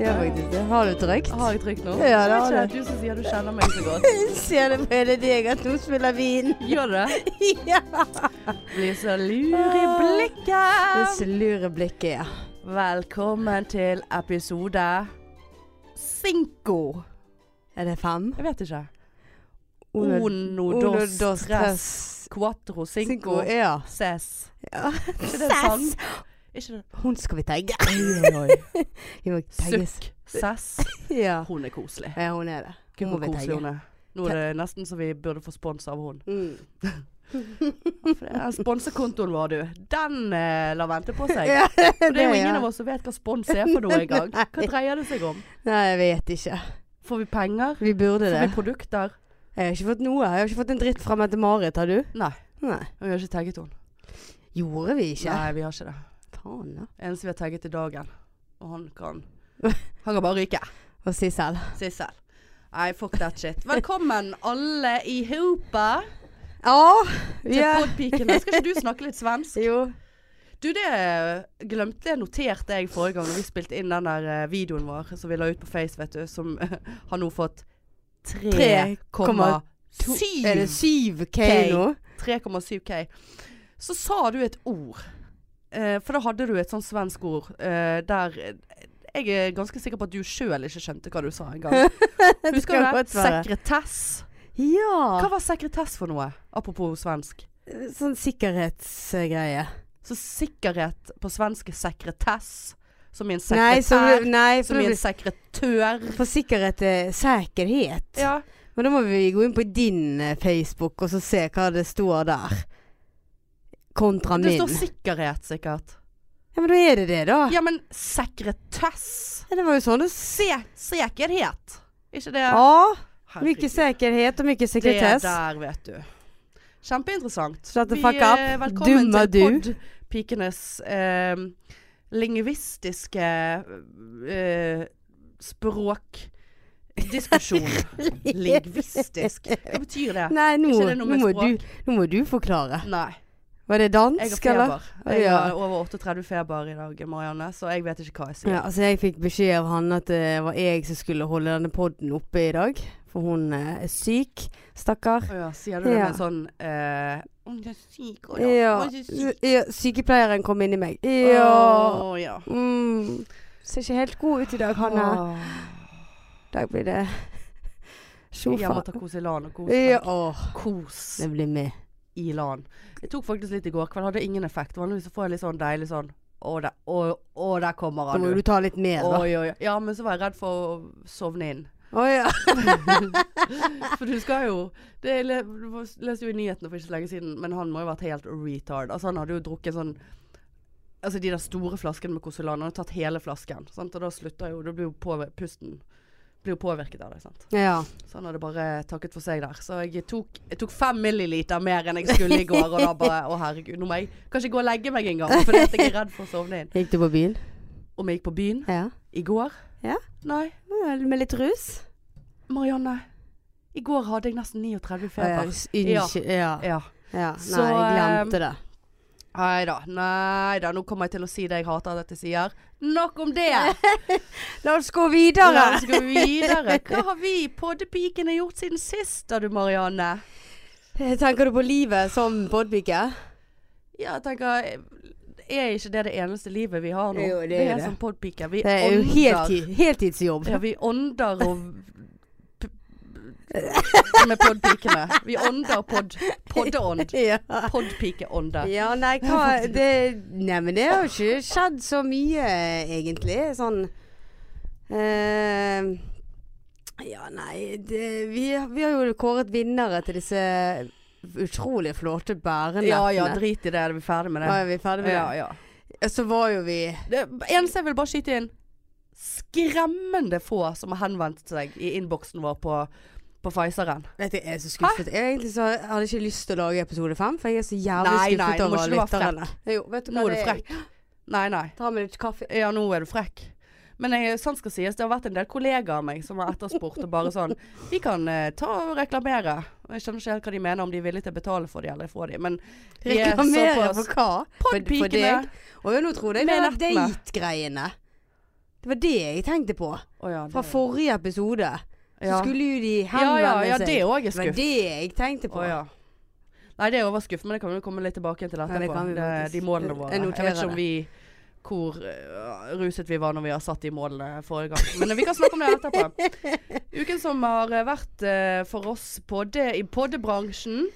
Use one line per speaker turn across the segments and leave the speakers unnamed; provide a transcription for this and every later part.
Ja, faktisk det. Har du trygt?
Har jeg trygt nå?
Ja, det
det
har
ikke det. Du som sier du kjenner meg så godt.
Ser det på hele deg at hun spiller vin?
Gjør det?
ja.
Blir så lur i
Ah. Det
blikket.
slure blikket, ja.
Velkommen til episode Cinco.
Er det fem?
Jeg vet ikke.
Uno-
Uno,
uno,
dos,
dos,
tres,
tres,
cuatro, cinco,
cinco, ja.
ses.
Ja.
Er ikke det en sang? Ikke det?
Hun skal vi tagge.
Oi, oi, oi.
Vi må tagges.
Sukk, ses.
Ja.
Hun er koselig.
ja, hun er det.
Gud,
Hun må
hvor
vi
koselig
tagge.
hun er. Nå er det nesten så vi burde få spons av hun.
Mm.
For det er Sponsekontoen vår, du. Den eh, lar vente på seg.
Ja,
For det er jo
ja.
ingen av oss som vet hva spons er for noe engang. Hva dreier det seg om?
Nei, jeg vet ikke.
Får vi penger?
Vi burde
Får
det.
vi produkter?
Jeg har ikke fått noe. Jeg har ikke fått en dritt fra Mette-Marit, har du?
Nei,
Nei.
vi har ikke tagget henne.
Gjorde vi ikke?
Nei, vi har ikke det.
Faen, da.
Eneste vi har tagget i dagen. Og han kan Han kan bare ryke.
Og Sissel.
Sissel. Nei, fuck that shit. Velkommen alle i hopa
Ja.
til
ja.
Podpikene. Skal ikke du snakke litt svensk?
Jo.
Du, det glemte jeg noterte jeg forrige gang når vi spilte inn den der eh, videoen vår som vi la ut på Face, vet du, som har nå fått 3,7
Er det 7K
K.
nå?
3,7K. Så sa du et ord. Eh, for da hadde du et sånt svensk ord eh, der eh, Jeg er ganske sikker på at du sjøl ikke skjønte hva du sa engang. Husker du
kan
det?
godt være.
Sekretess.
Ja.
Hva var sekretess for noe? Apropos svensk.
Sånn sikkerhetsgreie.
Så sikkerhet på svensk er sekretess. Som i en
Nei, så,
sekretær.
nei
som
for,
i en
det-
sekretør.
for sikkerhet er sikkerhet.
Ja.
Men da må vi gå inn på din eh, Facebook og så se hva det står der. Kontra
Det
min.
står sikkerhet, sikkert.
Ja, Men da er det det, da.
Ja, men sekretess
Ja, Det var jo sånn det s...
Se Sikkerhet. Ikke det?
Ja.
Herregud.
Mye sikkerhet og mye sekretess.
Det der, vet du. Kjempeinteressant.
Shut the
Vi,
fuck up.
eh, Velkommen
Dumma
til
du.
podpikenes eh, lingvistiske eh, språkdiskusjon. Lingvistisk. Hva betyr det?
Nei, nå,
Ikke det noe
nå,
med
må
språk?
du, nå må du forklare.
Nei.
Var det
Jeg har
dansk, eller?
feber. Jeg
Ja.
har over 38 feber i dag, Marianne, så jeg vet ikke hva jeg sier.
Ja, altså jeg fikk beskjed av han at det var jeg som skulle holde denne podden oppe i dag. For hun eh, er syk. Stakkar.
Å ja, sier du det
Ja.
med sånn eh, «Å, jeg er syk, å ja.
Ja.
Å, jeg er syk.
ja. Sykepleieren kom inn i meg. Ja.
Å, ja.
Mm. Ser ikke helt god ut i dag, Hanne. I dag blir det
Jeg
sofa.
må ta kos i LAN og kos.
Ja, åh,
Kos.
det blir med.
i LAN. Jeg tok faktisk litt i går kveld, hadde ingen effekt. Vanligvis så får jeg litt sånn deilig sånn Å, der, å, å, der kommer
Da
han,
må
du.
du ta litt mer, da.
Oi, oi. Ja, men så var jeg redd for å sovne inn.
Å ja.
For du skal jo Det jeg le- leste jo i nyhetene for ikke så lenge siden, men han må jo ha vært helt retard. Altså, han hadde jo drukket sånn Altså de der store flaskene med Kosolan. Han hadde tatt hele flasken. Sant? Og da slutter jo Da blir jo påver pusten Blir jo påvirket av det, sant.
ja.
Så han hadde Sånn bare takket for seg der. Så jeg tok, jeg tok fem milliliter mer enn jeg skulle i går. Og da bare Å, herregud. Nå må jeg kanskje gå og legge meg en gang, for jeg er redd for å sovne inn.
Gikk du på byen?
Om jeg gikk på byen
Ja.
i går?
Ja.
Nei.
Ja, Med litt rus?
Marianne. I går hadde jeg nesten 39
Å ja,
feber.
Unnskyld. Eh, Ja. ehm,
Ja.
ja.
Så,
Nei, jeg glemte det.
Nei da. Nei da. Nå kommer jeg til å si det jeg hater at jeg sier. Nok om det!
La oss gå videre.
La oss gå videre. Hva har vi poddepikene gjort siden sist da, du Marianne?
Tenker du på livet som podpike?
Ja, jeg tenker eh, Er ikke det det eneste livet vi har nå?
Jo, det er
er
det.
som podpiker. Vi
Det er jo
ånder.
heltid, heltidsjobb.
Ja, vi ånder og p- Med podpikene. Vi ånder pod. Poddeånd.
Ja.
Podpikeånder.
ja, nei, hva det, Nei, men det har jo ikke skjedd så mye, egentlig. Sånn eh, Ja, nei det, vi, vi har jo kåret vinnere til disse utrolig flotte bærenettene.
Ja ja, drit i det. Er vi ferdig med
Da
det?
er vi ferdig med
Ja, ja.
det. Så var jo vi
Det eneste jeg vil bare skyte inn Skremmende få som har henvendt seg i innboksen vår på, på Pfizeren.
Vet du, jeg er så skuffet. Jeg egentlig så hadde jeg ikke lyst til å lage episode fem, for jeg er så jævlig
Nei, nei,
skuffet
nå må
over
ikke du være frekk.
lytterne. Jo, vet du hva
Nå er
det
du frekk. Nei, nei.
Ta meg litt kaffe.
Ja, nå er du frekk. Men jeg, sant skal sies, det har vært en del kollegaer av meg som har etterspurt og bare sånn Vi kan eh, ta og reklamere. Og Jeg skjønner ikke helt hva de mener, om de er villige til å betale for de eller få de, men de er
Reklamere
såpass-
for hva? For- for
Podpikene.
deg? Å ja, nå trodde jeg det
Med
var
nettene.
date-greiene. Det var det jeg tenkte på.
Å ja, det-
Fra forrige episode. Så
ja.
skulle jo de
ja,
henvende
ja, ja,
seg.
det òg er
det var
skuff.
det jeg tenkte på.
Å ja. Nei, det òg var skuff, men det kan vi komme litt tilbake til
Ja, det
etterpå.
kan vi
det
faktisk.
de målene våre.
Jeg
Jeg
noterer
vet ikke om vi hvor øh, ruset vi var når vi har satt de målene forrige gang. Men vi kan snakke om det etterpå. Uken som har øh, vært øh, for oss på det, i poddebransjen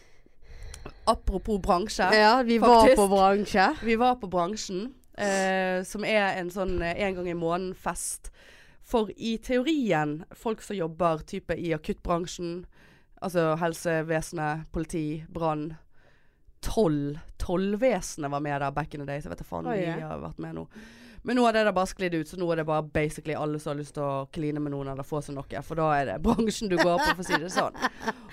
Apropos bransje.
Ja, vi
Faktisk.
var på bransje.
Vi var på bransjen, eh, som er en sånn eh, en gang i måneden-fest. For i teorien, folk som jobber type i akuttbransjen, altså helsevesenet, politi, brann, toll, tollvesenet var med der back in the days, jeg vet da faen om
Oi,
de
ja.
har vært med nå. Men nå har det der bare sklidd ut, så nå er det bare basically alle som har lyst til å kline med noen eller få seg noe, for da er det bransjen du går på, for å si det sånn.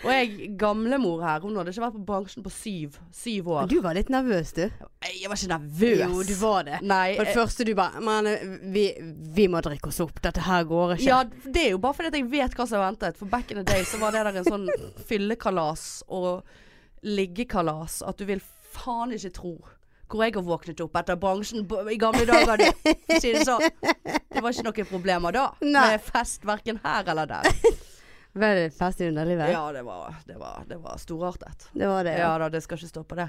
Og jeg, gamlemor her, hun hadde ikke vært på bransjen på syv, syv år.
Du var litt nervøs, du.
Nei, Jeg var ikke nervøs.
Jo, du var det.
Nei,
Og det
eh,
første du bare Men vi, vi må drikke oss opp. Dette her går ikke.
ja, det er jo bare fordi at jeg vet hva som har ventet. For back in the day så var det der en sånn fyllekalas og liggekalas at du vil faen ikke tro hvor jeg har våknet opp etter bransjen på- i gamle dager. Du. For å Si det, sånn. det var ikke noen problemer da.
Nei.
Med fest verken her eller der.
Var det fest i underlivet?
Ja, det var, det var, det var storartet.
Det var det.
Ja
Ja.
da, det skal ikke stå på det.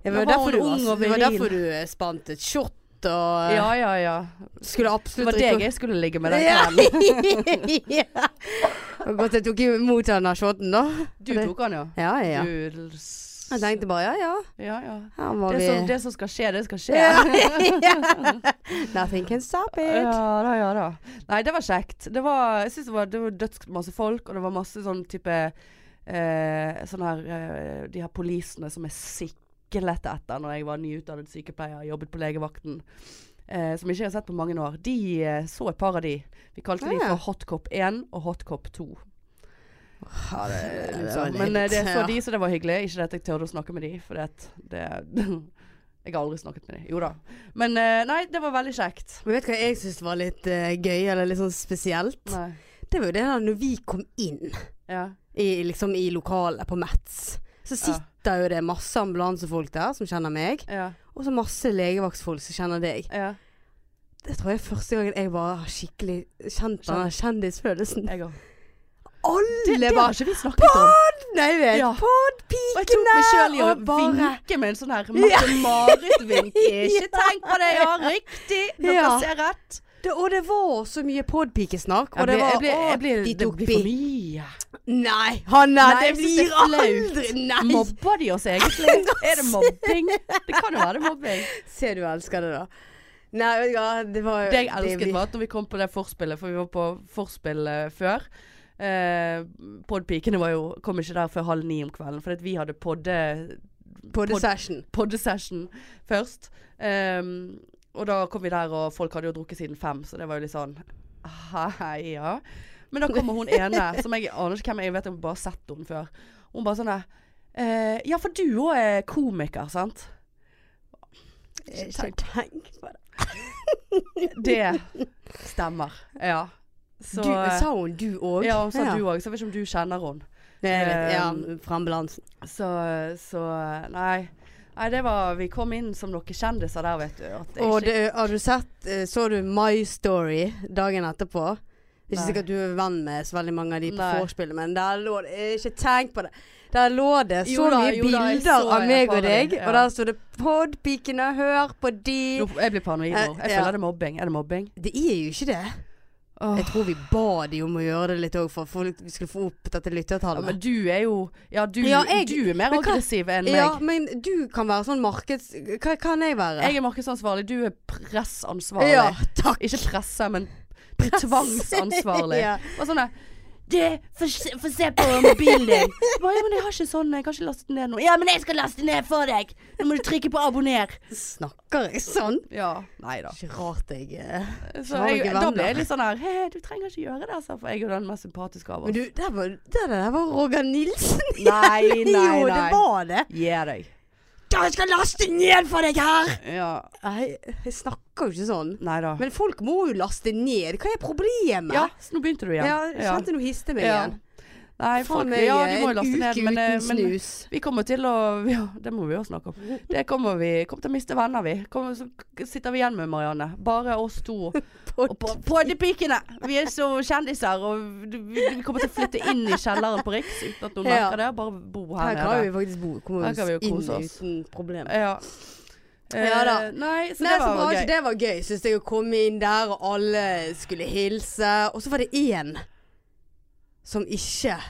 Det
Da
var,
var hun
derfor du,
ung
var,
og
det var
viril.
derfor du eh, spant et shot og
Ja, ja, ja.
skulle
Det
absolutt
var deg
drikke
jeg skulle ligge med den kvelden.
opp. Ja. Og Godt jeg tok imot den der shoten, da.
Du tok han, ja.
Ja, ja.
Du
Jeg tenkte bare ja, ja.
Ja, ja.
Her må
Det
vi
som, det som skal skje, det skal skje.
Nothing can stop it.
Ja da, ja da. Nei, det var kjekt. Det var, jeg synes det var, det var dødsmasse folk, og det var masse sånn type eh, Sånn her eh, De her polisene som jeg siklet etter når jeg var nyutdannet sykepleier, jobbet på legevakten. Eh, som jeg ikke har sett på mange år. De eh, så et par av de. Vi kalte de
Ja.
for Hotcop 1 og Hotcop 2.
Ja, det- sånn. det var
liksom.
litt-
Men eh, det så
ja.
de, så det var hyggelig. Ikke at jeg tørde å snakke med de, for det, at det Jeg har aldri snakket med de. Jo da. Men eh, nei, det var veldig kjekt.
Men vet du hva jeg syns var litt eh, gøy, eller litt sånn spesielt?
Nei.
Det var jo det der når vi kom inn
Ja.
i, liksom, i lokalet på Metz. Så
Ja.
sitter jo det masse ambulansefolk der som kjenner meg,
Ja.
og så masse legevaktfolk som kjenner deg.
ja.
Det tror jeg er første gangen jeg bare har skikkelig kjent den der kjendisfølelsen.
Jeg òg. Det,
Alle
det har
bare
ikke vi snakket om.
Nei, jeg vet
Ja. Og jeg tok
Podpikene!
meg sjøl i å
og bare
vinke med en sånn her Mette-Marit-vink. Ikke tenk på det, ja. Riktig. Dere
Ja.
ser rett.
det, Og det var så mye podpikesnakk, og
Jeg
det
ble-
var
jeg ble- jeg
å,
ble-
de
det
tok
blir for
pikk.
mye.
Nei, Hanna,
Nei,
det
jeg synes det
blir
er flaut.
aldri Nei!
Mobber de oss egentlig? Er det mobbing? Det kan jo være mobbing.
Se, du elsker det, da. Nei, vet du hva, det var
Eh, Det jeg elsket
blir-
var at når vi kom på det forspillet, for vi var på forspill eh, før. Eh, podpikene var jo, kom ikke der før halv ni om kvelden, for at vi hadde podde,
Poddesession.
poddesession først. Ehm, og da kom vi der, og folk hadde jo drukket siden fem, så det var jo litt sånn Hei, ja. Men da kommer hun ene, som jeg aner ikke hvem er, jeg vet jeg har bare har sett henne før. Hun bare sånn der eh, Ja, for du òg er komiker, sant?
Ikke tenk på det.
Det stemmer. Ja. Så eh,
du, sa hun du òg?
Ja, hun sa du òg, så jeg vet ikke om du kjenner henne.
Nei, jeg vet, ja,
Ehm,
fra ambulansen.
Så, så nei. nei. Det var Vi kom inn som noen kjendiser der, vet du. At det
Og
ikke,
det, har du sett eh, Så du My Story dagen etterpå? Det er ikke
Nei.
sikkert du er venn med så veldig mange av de på
Nei.
vorspielet, men der lå det eh, Ikke tenk på det. Der lå det så
Jo da,
mye
jo da, jeg
bilder
så
av
et
meg
par av
og
de,
deg,
ja.
og der sto det 'Podpikene, hør på de'.
Nå, jeg blir paranoid nå. Jeg
Eh, ja.
føler det er mobbing. Er det mobbing?
Det er jo ikke det.
Åh.
Jeg tror vi ba de om å gjøre det litt òg, for folk vi skulle få opp dette
Ja,
lyttertallet.
men du er jo Ja, du,
Ja, jeg-
du er mer
men hva-
aggressiv enn meg.
Ja, men du kan være sånn markeds... Hva kan jeg være?
Jeg er markedsansvarlig, du er pressansvarlig.
Ja, takk.
Ikke presse, men tvangsansvarlig.
Ja.
Og sånn der, det, få se, få se på mobilen din. Jeg bare, Ja, men jeg har ikke sånn, jeg kan ikke laste den ned nå. Ja, men jeg skal laste den ned for deg. Nå må du trykke på abonner.
Snakker jeg sånn?
Ja, nei da.
Ikke rart jeg eh.
Så
Har
jeg,
ikke
da
venner.
ble jeg litt sånn her, he, he, du trenger ikke gjøre det, altså, for jeg er jo den mest sympatiske av
Men
oss.
du, der var, der, der var Roger Nilsen.
Nei, nei,
Jo, det
nei.
var det.
Gi deg.
Da skal jeg laste ned for deg her!
Ja,
Nei, jeg snakker jo ikke sånn.
nei da.
Men folk må jo laste ned. Hva er problemet?
Ja, så nå begynte du igjen.
Ja, jeg kjente noe histe meg
Ja.
igjen.
Nei,
Faen
folk,
meg
ja, de må jo
en
laste
uke
ned, men, eh,
uten
men
snus.
vi kommer til å Ja, det må vi også snakke om. Det kommer vi kommer til å miste venner, vi. Kommer, så k- sitter vi igjen med Marianne. Bare oss to. Og på, på de pikene! Vi er så kjendiser, og vi, vi kommer til å flytte inn i kjelleren på Riks uten at noen
Ja.
merker det. Bare bo her,
Her kan vi
nede.
faktisk bo. Kommer
Her kan vi jo
oss inn
kose oss.
uten problem.
Ja. Eh,
Ja da.
Nei, så
Nei,
det
så
var
var
gøy.
ikke det var gøy, syns jeg, å komme inn der, og alle skulle hilse. Og så var det én som ikke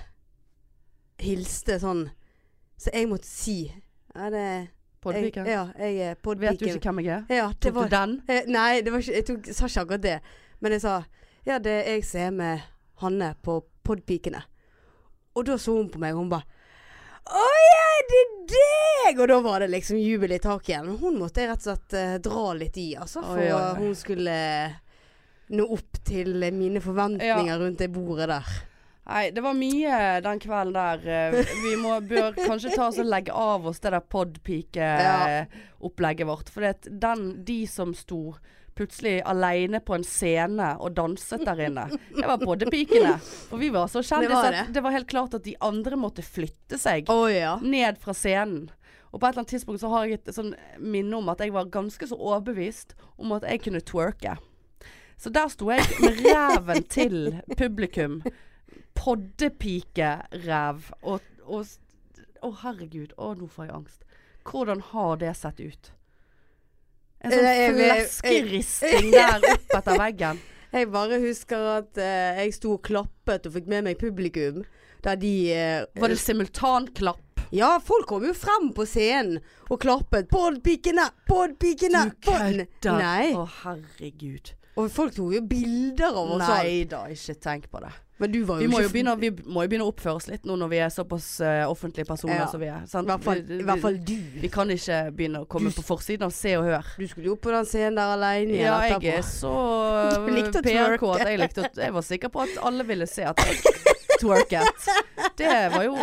hilste sånn. Så jeg måtte si Ja, det
På de
jeg,
pikene.
ja, jeg er
Vet du
podpiken.
ikke hvem jeg er?
Ja, det
Tok
var
du den?
Eh, Nei, det var ikke, jeg tok, sa ikke akkurat det. Men jeg sa ja, det er jeg som er med Hanne på Podpikene. Og da så hun på meg, og hun bare Å ja, det er deg! Og da var det liksom jubel i taket igjen. Hun måtte jeg rett og slett eh, dra litt i, altså. For
Oi, oi, oi.
at hun skulle nå opp til mine forventninger rundt det bordet der.
Nei, det var mye den kvelden der. Eh, Vi må, bør kanskje ta oss og legge av oss det der
Ja.
podpike-opplegget vårt. For det, at den, de som sto plutselig aleine på en scene og danset der inne, det var poddepikene. Og vi var så
var
kjendiser
det.
at det var helt klart at de andre måtte flytte seg
Å ja.
ned fra scenen. Og på et eller annet tidspunkt så har jeg et sånn minne om at jeg var ganske så overbevist om at jeg kunne twerke. Så der sto jeg med ræven til publikum. Poddepikeræv. Og, og s- Å, herregud. Å, nå får jeg angst. Hvordan har det sett ut? En sånn
Eh, Jeg- jeg- jeg-
fleskeristing der opp etter veggen.
Jeg bare husker at eh, jeg sto og klappet og fikk med meg publikum. Der de eh,
Var det simultanklapp?
Ja, folk kom jo frem på scenen og klappet 'Podpikene! Podpikene!' pod-" Nei.
Å, herregud.
Og folk tok jo bilder av oss. sånn.
Nei da, ikke tenk på det.
Men du var
Vi
jo
må jo
ikke
begynne, vi må jo begynne å oppføre oss litt nå når vi er såpass eh, offentlige personer
Ja.
som vi er. sant?
I hvert fall,
Vi-
i hvert fall du.
Vi kan ikke begynne å komme
Du-
på forsiden av Se og Hør.
Du skulle jo opp på den scenen der alene igjen
Ja, jeg
etterpå.
er så eh,
Du likte å
PRK
twerke.
at jeg likte å Jeg var sikker på at alle ville se at jeg twerket. Det var jo,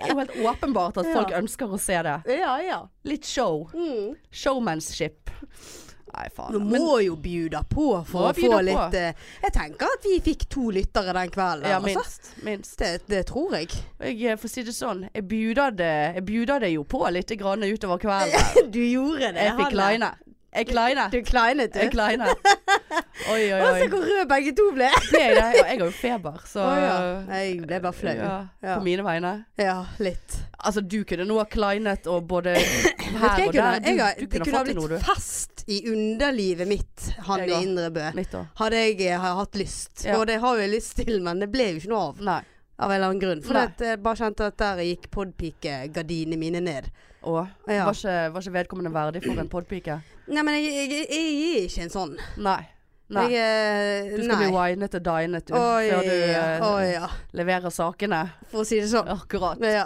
er jo helt åpenbart at folk
Ja.
ønsker å se det.
Ja, ja.
Litt show.
Mm.
Showmanship. Nei,
Du
faen.
må
Men,
jo bjuda på for
Må
å få
bjuda på.
litt eh, Jeg tenker at vi fikk to lyttere den kvelden.
ja,
altså.
minst. minst.
det, det tror jeg.
Jeg, eh, for å si det sånn, jeg bjuda det, jeg bjuda det jo på litt grann utover kvelden.
Du gjorde det.
Jeg fikk
Hanne.
line. Jeg kleine.
Du kleinet,
Jeg
du.
kleine. Oi, oi,
Å, se
oi.
hvor røde begge to ble.
Ble jeg det? Og jeg har jo feber, så
Å ja. Jeg ble bare flau.
Ja,
Ja.
På mine vegne.
ja, litt.
Altså, du kunne nå ha kleinet og både
Vet
her
du
og der. Du,
hva jeg kunne, jeg, har-
du
det
kunne
kunne
ha
ha
fått til noe,
blitt
du.
fast i underlivet mitt,
Jeg
Hanne
også.
Indrebø.
Mitt òg.
Hadde jeg eh, har hatt lyst.
Ja.
Og det har jeg lyst til, men det ble jo ikke noe av.
Nei.
Av en eller annen grunn. For
Nei.
at jeg bare kjente at der gikk podpikegardinene mine ned.
Og
Ja.
var, ikke, var ikke vedkommende verdig for en podpike?
Nei, men jeg, jeg, jeg, jeg er ikke en sånn.
Nei. Nei.
Jeg, eh,
Du skal
nei.
bli winet og dinet du,
Oi,
før du eh,
oi, ja.
leverer sakene.
For å si det sånn.
Akkurat.
Men ja.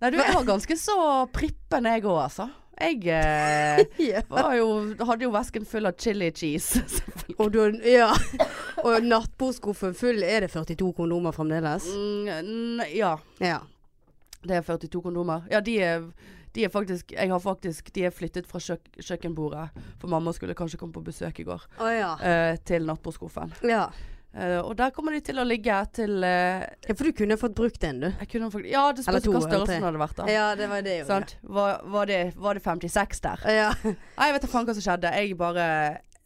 Nei, du, jeg var ganske så prippen jeg òg, altså. Jeg eh,
ja.
var jo, hadde jo vesken full av chili cheese.
Og, du, har- ja. og nattbordskuffen full. Er det 42 kondomer fremdeles?
Mm, n- ja,
Ja.
det er 42 kondomer. Ja, de er, de er faktisk Jeg har faktisk De er flyttet fra kjøk, kjøkkenbordet, for mamma skulle kanskje komme på besøk i går,
Å ja.
eh, til nattbordskuffen.
ja.
Eh, og der kommer de til å ligge til eh,
Ja, For du kunne fått brukt en, du.
Jeg kunne faktisk Ja, det
Eller
spørs
to,
hva
eller tre.
størrelsen hadde vært, da.
Ja, det var det jo.
Sant? Var, var, det, var det 56 der?
Ja. Ja.
Nei, jeg vet da faen hva som skjedde. Jeg bare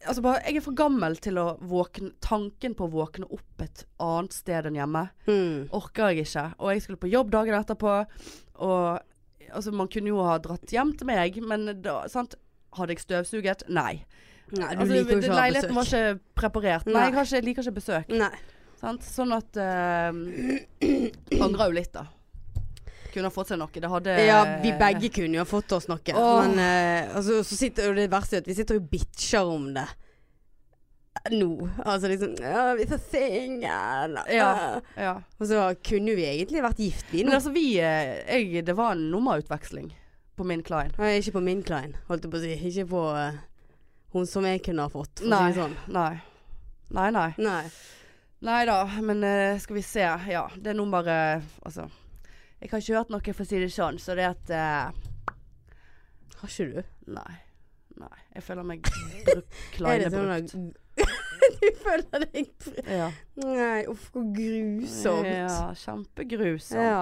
Altså bare, Jeg er for gammel til å våkne Tanken på å våkne opp et annet sted enn hjemme
Mm.
orker jeg ikke. Og jeg skulle på jobb dagen etterpå. Og altså, man kunne jo ha dratt hjem til meg, men da sant? Hadde jeg støvsuget? Nei.
Nei, du
Altså,
liker jo ikke å ha besøk.
leiligheten var ikke preparert. Nei,
Nei.
jeg, har ikke, jeg liker ikke besøk.
Nei.
Sant? Sånn at uh, Angrer jo litt, da. Kunne ha fått seg noe. Det hadde
Ja, vi begge kunne jo ha fått oss noe.
Eh. Åh.
Men eh, altså, så sitter, og det verste er at vi sitter og bitcher om det. Nå. Altså liksom «Åh, Vi er så single.
Ja. eh, Ja.
Eh. Og så kunne vi egentlig vært gift, vi
Men
nå.
altså, vi eh, jeg, Det var en nummerutveksling på min Klein.
Nei, Ikke på min klein, holdt jeg på å si. Ikke på eh, hun som jeg kunne ha fått, for å
Nei.
si det sånn.
Nei. Nei, nei.
Nei.
Nei da, men eh, skal vi se. Ja, det nummeret Altså. Jeg har ikke hørt noe, for å si det sånn, så det at eh,
Har ikke du?
Nei. Nei. Jeg føler meg brukt
Er det
kleine
sånn
brukt.
at Jeg føler deg fri.
Ja.
Nei, uff, hvor grusomt.
Ja, kjempegrus.
Ja.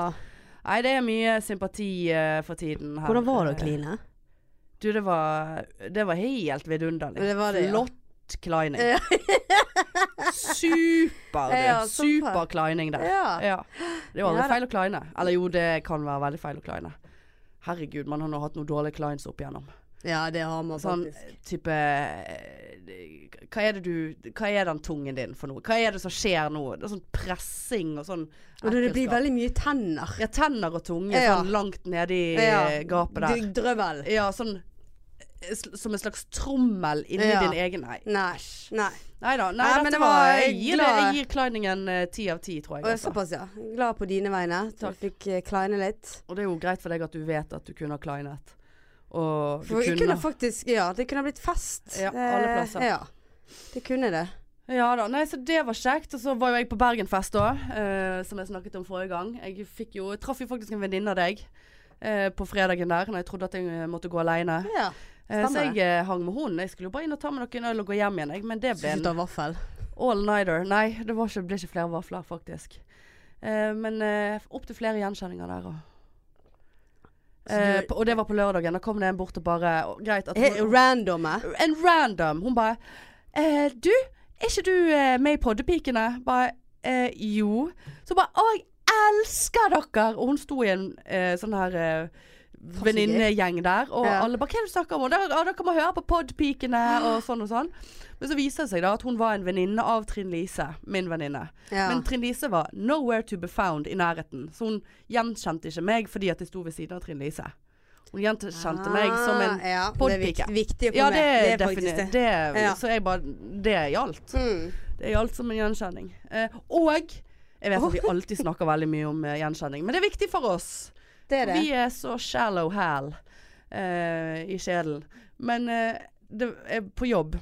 Nei, det er mye sympati eh, for tiden her. Eh,
Hvordan var det å kline?
Du, det var, det var helt vidunderlig.
Det var det, ja.
Flott klining.
Ja.
Super, du.
Ja, såpass.
Super klining der.
Ja.
Ja. Det er jo aldri
Ja da.
feil å kline. Eller jo, det kan være veldig feil å kline. Herregud, man har nå hatt noen dårlige clines opp igjennom.
Ja, det har man
Sånn
faktisk.
type eh, Hva er det du Hva er den tungen din for noe? Hva er det som skjer nå? Det er sånn pressing og sånn
Og det blir
ekkelskap.
veldig mye tenner.
Ja, tenner og tunge
Ja.
sånn langt nede i eh, gapet der.
Drøvel.
Ja, sånn eh, sl- som en slags trommel inni
Ja.
din egen Nei.
Nei. Nei.
Nei da. Nei,
Nei,
dette
men det
var,
var
Jeg gir, det,
glad-
jeg gir Kleiningen eh, ti av ti, tror jeg.
Og
Altså.
såpass, ja. Glad på dine vegne. Du
Takk.
fikk eh, kleine litt.
Og det er jo greit for deg at du vet at du kunne ha kleinet. Og du
For jeg kunne
kunne
faktisk Ja, det kunne ha blitt fest.
Ja, alle
Eh,
plasser.
Ja. Det kunne det.
Ja da. Nei, så det var kjekt. Og så var jo jeg på Bergenfest òg, eh, som jeg snakket om forrige gang. Jeg fikk jo Jeg traff jo faktisk en venninne av deg. eh, På fredagen der, når jeg trodde at jeg eh, måtte gå alene.
Ja.
Eh, Så
Stemmer
jeg eh, hang med hun. Jeg skulle jo bare inn og ta med noen øl og gå hjem igjen, jeg. Men det ble en
Slutt av vaffel.
All-nighter. Nei, det var ikke, ble ikke flere vafler, faktisk. Eh, men eh, opp til flere gjenkjenninger der òg. Eh,
Så du-
på- og det var på lørdagen. Da kom det en bort og bare og, Greit at
He-
hun,
Randomme.
En random. Hun bare eh, 'Du, er ikke du eh, med i Poddepikene?' Bare eh, 'Jo'. Så bare 'Å, jeg elsker dere!' Og hun sto i en eh, sånn her eh, venninnegjeng der, og
Ja. Ah. alle
alle bare 'Hva er det du snakker om?' Og der, ja, 'Dere må høre på Podpikene', og sånn og sånn. Men så viser det seg da at hun var en venninne av Trine Lise, min venninne.
Ja.
Men Trine Lise var nowhere to be found i nærheten, så hun gjenkjente ikke meg fordi at jeg sto ved siden av Trine Lise. Hun gjenkjente meg som en
Ah, ja,
podpike.
Det er vikt, viktig å få
Ja, det
med.
er
faktisk
definitivt.
det.
Det-
Ja.
Så jeg bare Det gjaldt.
Mm.
Det gjaldt som en gjenkjenning. Eh, og jeg vet at vi alltid snakker veldig mye om eh, gjenkjenning, men det er viktig for oss.
Det er det.
Vi er så shallow hal eh, i kjelen. Men eh, det, eh, på jobb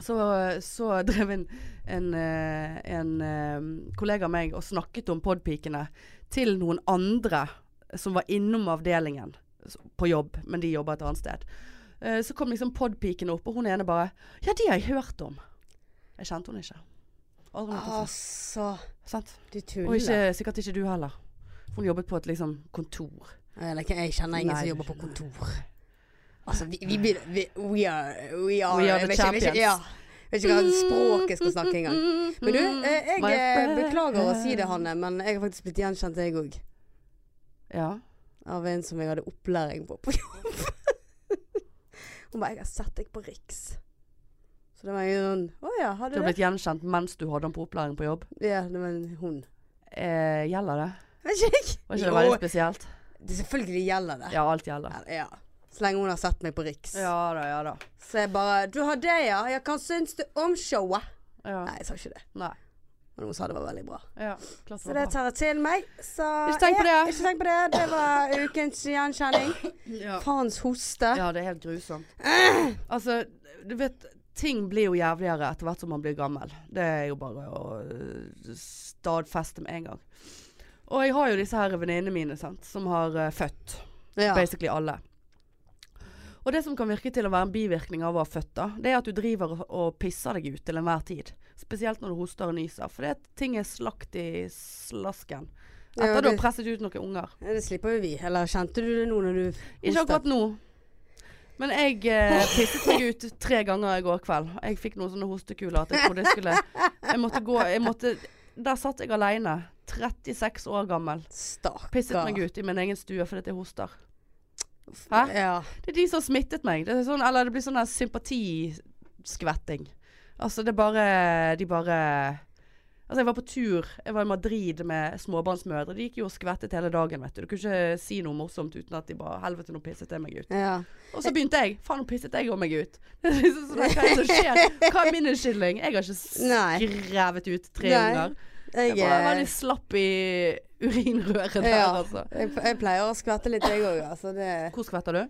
så, så drev en, en, eh, en eh, kollega av meg og snakket om podpikene til noen andre som var innom avdelingen s- på jobb, men de jobba et annet sted. Eh, så kom liksom podpikene opp, og hun ene bare Ja, de har jeg hørt om. Jeg kjente henne ikke. Aldri møtt henne.
altså,
Sant?
du
Og
tuller.
ikke, sikkert ikke du heller. Hun jobbet på et liksom kontor.
Eller, ikke, jeg kjenner ingen
Nei,
som
du
jobber på kontor. Altså, vi, vi blir vi, We are We are,
We are
jeg
the
vet ikke- jeg vet ikke-
champions. Mm,
Ja. Jeg Vet ikke hva språket jeg skal snakke engang. Men du, eh, jeg
My
eh,
friend.
beklager å si det, Hanne, men jeg har faktisk blitt gjenkjent, jeg òg.
Ja.
Av en som jeg hadde opplæring på på jobb. Hun bare 'Jeg har sett deg på Riks'. Så det var jo sånn Å ja, har
Du
du
har
det?
blitt gjenkjent mens du hadde den på opplæring på jobb.
Ja, det var en hund.
Eh, gjelder det?
Vet ikke jeg.
Var ikke
Jo.
det veldig spesielt?
Det selvfølgelig gjelder det.
Ja, alt gjelder.
Ja, ja. Så lenge hun har sett meg på Riks.
Ja da, ja da.
Så jeg bare 'Du har det, ja? Ja, hva syns du om showet?'
Ja.
Nei, jeg sa ikke det.
Nei.
Men hun sa det var veldig bra.
Ja, klart
Så
det
det
var bra.
tar jeg til meg. Så
Ikke tenk på
Ja,
det.
Ikke tenk på det. Det var ukens gjenkjenning.
Ja.
Faens hoste.
ja, det er helt grusomt. Altså, du vet Ting blir jo jævligere etter hvert som man blir gammel. Det er jo bare å øh, stadfeste med en gang. Og jeg har jo disse her venninnene mine, sant, som har øh, født.
Ja.
basically alle. Og det som kan virke til å være en bivirkning av å ha født, da, det er at du driver og- og pisser deg ut til enhver tid. Spesielt når du hoster og nyser, for det at ting er slakt i slasken.
Ja,
Etter at du har
det,
presset ut noen unger.
det slipper jo vi. Eller kjente du det nå når du
Ikke akkurat nå. Men jeg eh, pisset meg ut tre ganger i går kveld. Jeg fikk noen sånne hostekuler at jeg trodde jeg skulle Jeg måtte gå jeg måtte, Der satt jeg aleine, 36 år gammel.
Stakkar.
Pisset meg ut i min egen stue fordi at jeg hoster.
Hæ?
Hæ?
Ja.
Det er de som har smittet meg. Det er sånn, eller det blir sånn der sympatiskvetting. Altså, det er bare De bare Altså, jeg var på tur. Jeg var i Madrid med småbarnsmødre. De gikk jo og skvettet hele dagen, vet du. Du kunne ikke si noe morsomt uten at de bare Helvete, nå pisset jeg meg ut.
ja.
Og så begynte jeg. Faen, nå pisset jeg òg meg ut. Det er liksom sånn, Hva er det som skjer? Hva er min unnskyldning? Jeg har
Nei.
ikke skrevet ut tre
Nei.
unger.
Jeg,
Jeg var veldig
eh,
slapp i urinrøret der,
Ja.
altså.
jeg, jeg pleier å skvette litt, jeg òg. Altså, det-
Hvor skvetter du?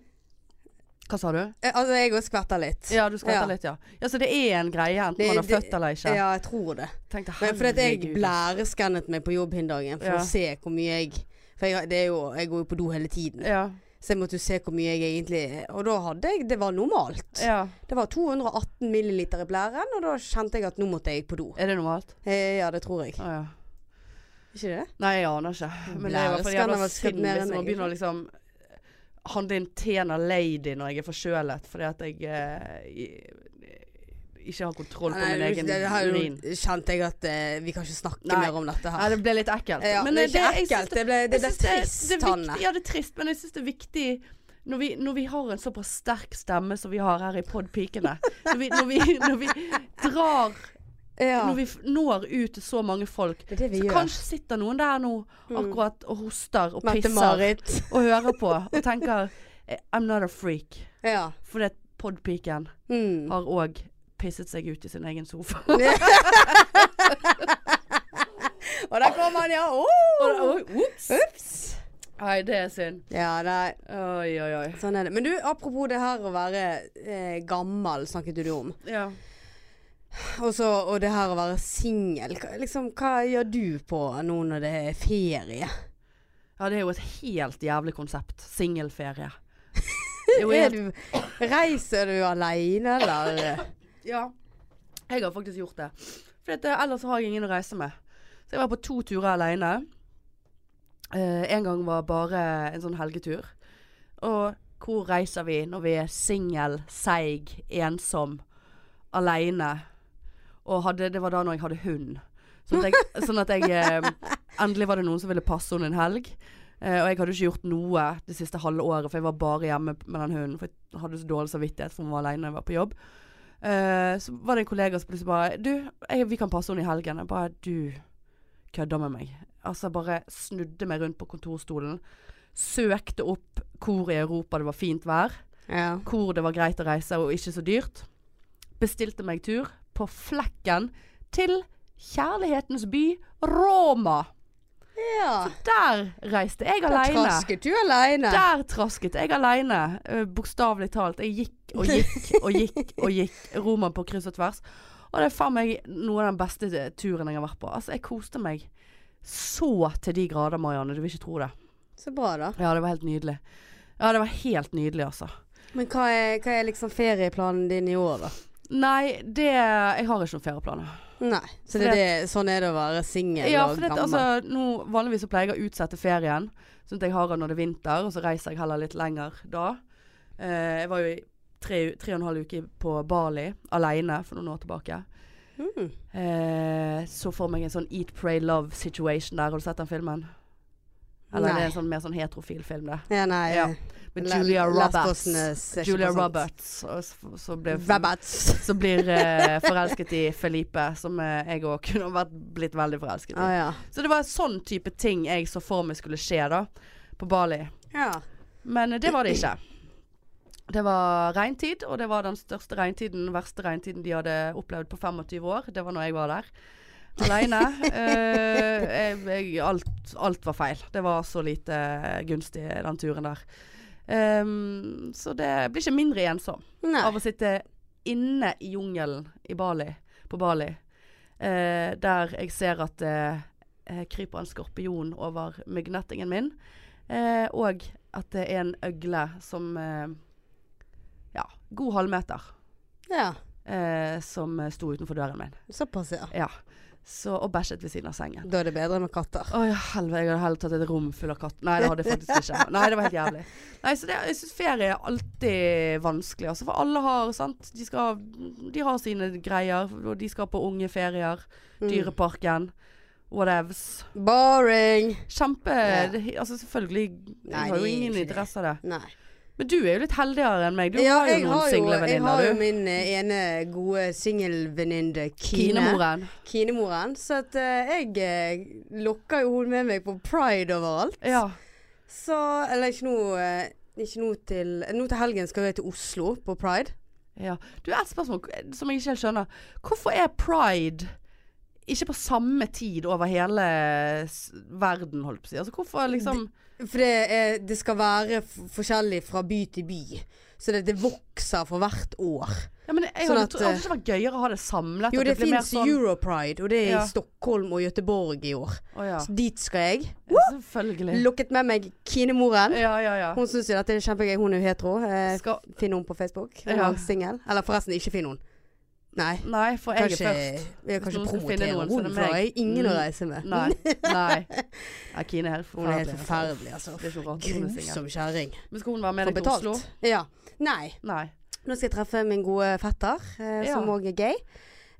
Hva sa du?
Eh, altså, jeg òg skvetter litt.
Ja, du skvetter
Ja.
litt, ja. Ja, Så det er en greie, enten
Det-
man har
det-
født eller ikke.
Ja, jeg tror det.
Tenkte,
Men fordi at jeg
herregud. altså.
blæreskannet meg på jobb hin dagen for
Ja.
å se hvor mye jeg For jeg, har- det er jo, jeg går jo på do hele tiden.
Ja.
Så jeg måtte jo se hvor mye jeg egentlig Og da hadde jeg Det var normalt.
Ja.
Det var 218 milliliter i blæren, og da kjente jeg at nå måtte jeg på do.
Er det normalt?
Eh, ja, det tror jeg.
Å ja.
Ikke det?
Nei, jeg aner ikke. Men det er i hvert fall
Blæreskanner
jævla
var
synd
skritt ned
liksom,
enn
å
jeg.
begynne å liksom eh, handle inn Tena Lady når jeg er forkjølet, fordi at jeg eh, i- ikke har kontroll på
Nei,
min egen
det, det har jo,
urin.
kjente jeg at eh, vi kan ikke snakke
Nei.
mer om dette
Nei,
her.
det ble litt ekkelt.
Ja,
Men,
det
eh,
er ikke
jeg synes
ekkelt. Det ble, det
Jeg
ble
synes
trist,
det er
Hanne.
viktig- Ja, det er trist, men jeg syns det er viktig når vi, når vi har en såpass sterk stemme som vi har her i Podpikene når vi, når, vi, når vi drar
Ja.
Når vi f- når ut til så mange folk,
Det er det vi
så
gjør. Mm.
kanskje sitter noen der nå akkurat og hoster og pisser
Mette-Marit.
og hører på og tenker eh, I'm not a freak.
Ja.
Fordi at Podpiken
Mm.
har òg pisset seg ut i sin egen sofa.
Og der kommer han, ja. Å!
Ops!
Ups.
Nei, det er synd.
Ja, nei.
Oi, oi, oi.
Sånn er det. Men du, apropos det her å være eh, gammel, snakket du om.
Ja.
Og så, og det her å være singel. hva- Liksom, hva gjør du på nå når det er ferie?
Ja, det er jo et helt jævlig konsept. Singelferie. Jo,
Er
jeg,
du, reiser du aleine, eller?
ja. Jeg har faktisk gjort det. For at, eh, ellers har jeg ingen å reise med. Så jeg var på to turer alene. Eh, en gang var bare en sånn helgetur. Og hvor reiser vi når vi er singel, seig, ensom, aleine? Og hadde, det var da når jeg hadde hund. Sånn at jeg, sånn at jeg eh, Endelig var det noen som ville passe henne en helg. Eh, og jeg hadde ikke gjort noe det siste halve året, for jeg var bare hjemme med den hunden. For jeg hadde så dårlig samvittighet for hun var alene når jeg var på jobb. Eh, så var det en kollega som plutselig bare Du, jeg, vi kan passe henne i helgen. Jeg bare Du kødder med meg. Altså bare snudde meg rundt på kontorstolen. Søkte opp hvor i Europa det var fint vær.
Ja.
Hvor det var greit å reise og ikke så dyrt. Bestilte meg tur på flekken til kjærlighetens by Roma.
ja.
Der reiste jeg
Da
aleine.
trasket du aleine.
Der trasket jeg aleine, eh, bokstavelig talt. Jeg gikk og gikk og gikk og gikk. Roma på kryss og tvers. Og det er faen meg noe av den beste turen jeg har vært på. Altså, jeg koste meg så til de grader, Marianne. Du vil ikke tro det.
Så bra, da.
Ja, det var helt nydelig. Ja, det var helt nydelig, altså.
Men hva er, hva er liksom ferieplanen din i år, da?
Nei, det Jeg har ikke noen ferieplaner.
Nei. Så det er det, sånn er det å være singel
Ja,
og
for det,
gammel.
altså, nå, vanligvis så pleier jeg å utsette ferien, sånn at jeg har den når det er vinter, og så reiser jeg heller litt lenger da. Eh, jeg var jo i tre, tre og en halv uke på Bali alene for noen år tilbake.
Mm.
Eh, så for meg en sånn Eat, Pray, Love situation der. Har du sett den filmen? Eller det er en sånn, mer sånn heterofil film, det.
Ja, nei.
Ja. Med Julia Roberts. Julia Roberts. Og så, så ble
Roberts.
som blir eh, forelsket i Felipe, som eh, jeg òg kunne vært blitt veldig forelsket i.
Å Ah, ja.
Så det var sånn type ting jeg så for meg skulle skje da, på Bali.
ja.
Men eh, det var det ikke. Det var regntid, og det var den største regntiden, den verste regntiden de hadde opplevd på 25 år. Det var når jeg var der. Aleine. Eh, jeg- jeg- alt, alt var feil. Det var så lite gunstig, den turen der. Ehm, så det blir ikke mindre sånn. ensom
Nei.
av å sitte inne i jungelen i Bali, på Bali. Eh, der jeg ser at det eh, kryper en skorpion over myggnettingen min. Eh, og at det er en øgle som eh, Ja, god halvmeter.
Ja.
Eh, som eh, sto utenfor døren min.
Såpass, ja.
Ja. Så, og bæsjet ved siden av sengen.
Da er det bedre med katter.
Å ja, helvete. Jeg hadde heller tatt et rom full av katter. Nei, det hadde jeg faktisk ikke. Nei, det var helt jævlig. Nei, så det, jeg syns ferie er alltid vanskelig, altså. For alle har, sant. De, skal, de har sine greier. Og de skal på unge ferier.
Mm.
Dyreparken. Whatevs.
Boring!
Kjempe
Ja.
det, Altså, selvfølgelig. Jeg
Nei,
har
det
jo
er
ingen
ikke det.
interesse av det.
Nei.
Men du er jo litt heldigere enn meg. Du har jo noen single
jeg har jo
venninner, du.
min eh, ene gode singelvenninne Kine.
Kinemoren.
Kinemoren. Så at eh, jeg eh, lokker jo hun med meg på pride overalt.
Ja.
Så Eller ikke nå eh, Ikke nå til Nå til helgen skal jeg til Oslo på pride.
ja. Du, et spørsmål som jeg ikke helt skjønner. Hvorfor er pride ikke på samme tid over hele s- verden, holdt på å si. Altså hvorfor liksom
For det, er, det skal være f forskjellig fra by til by. Så det, det vokser for hvert år.
ja, men jeg
Sånn
hadde,
at,
tro- hadde ikke det vært gøyere å ha det samlet?
Jo,
at
det
blir mer sånn
fins Europride, og det er
Ja.
i Stockholm og Göteborg i år.
Å ja.
Så dit skal jeg.
Selvfølgelig.
Lokket med meg Kine-moren.
Ja, ja, ja.
Hun syns jo dette er kjempegøy. Hun er jo hetero. Eh,
Skal,
Finn henne på Facebook. Hun
Ja.
er singel. Eller forresten, ikke finn henne. Nei.
nei, for jeg
Kanskje,
er først.
vi
Hvis
kan ikke
noen skal
promotere
finne
henne,
noen, så er det
for jeg
meg.
har ingen å
Mm.
reise med.
Nei. nei. Ja, Kine er helt
Hun er
forferdelig.
helt forferdelig, altså.
Det er ikke rart hun er singel.
Grusom kjerring.
Men skal hun være med
Får
deg til Oslo?
betalt. Ja. Nei.
Nei.
Nå skal jeg treffe min gode fetter, eh,
Ja.
som òg er gay.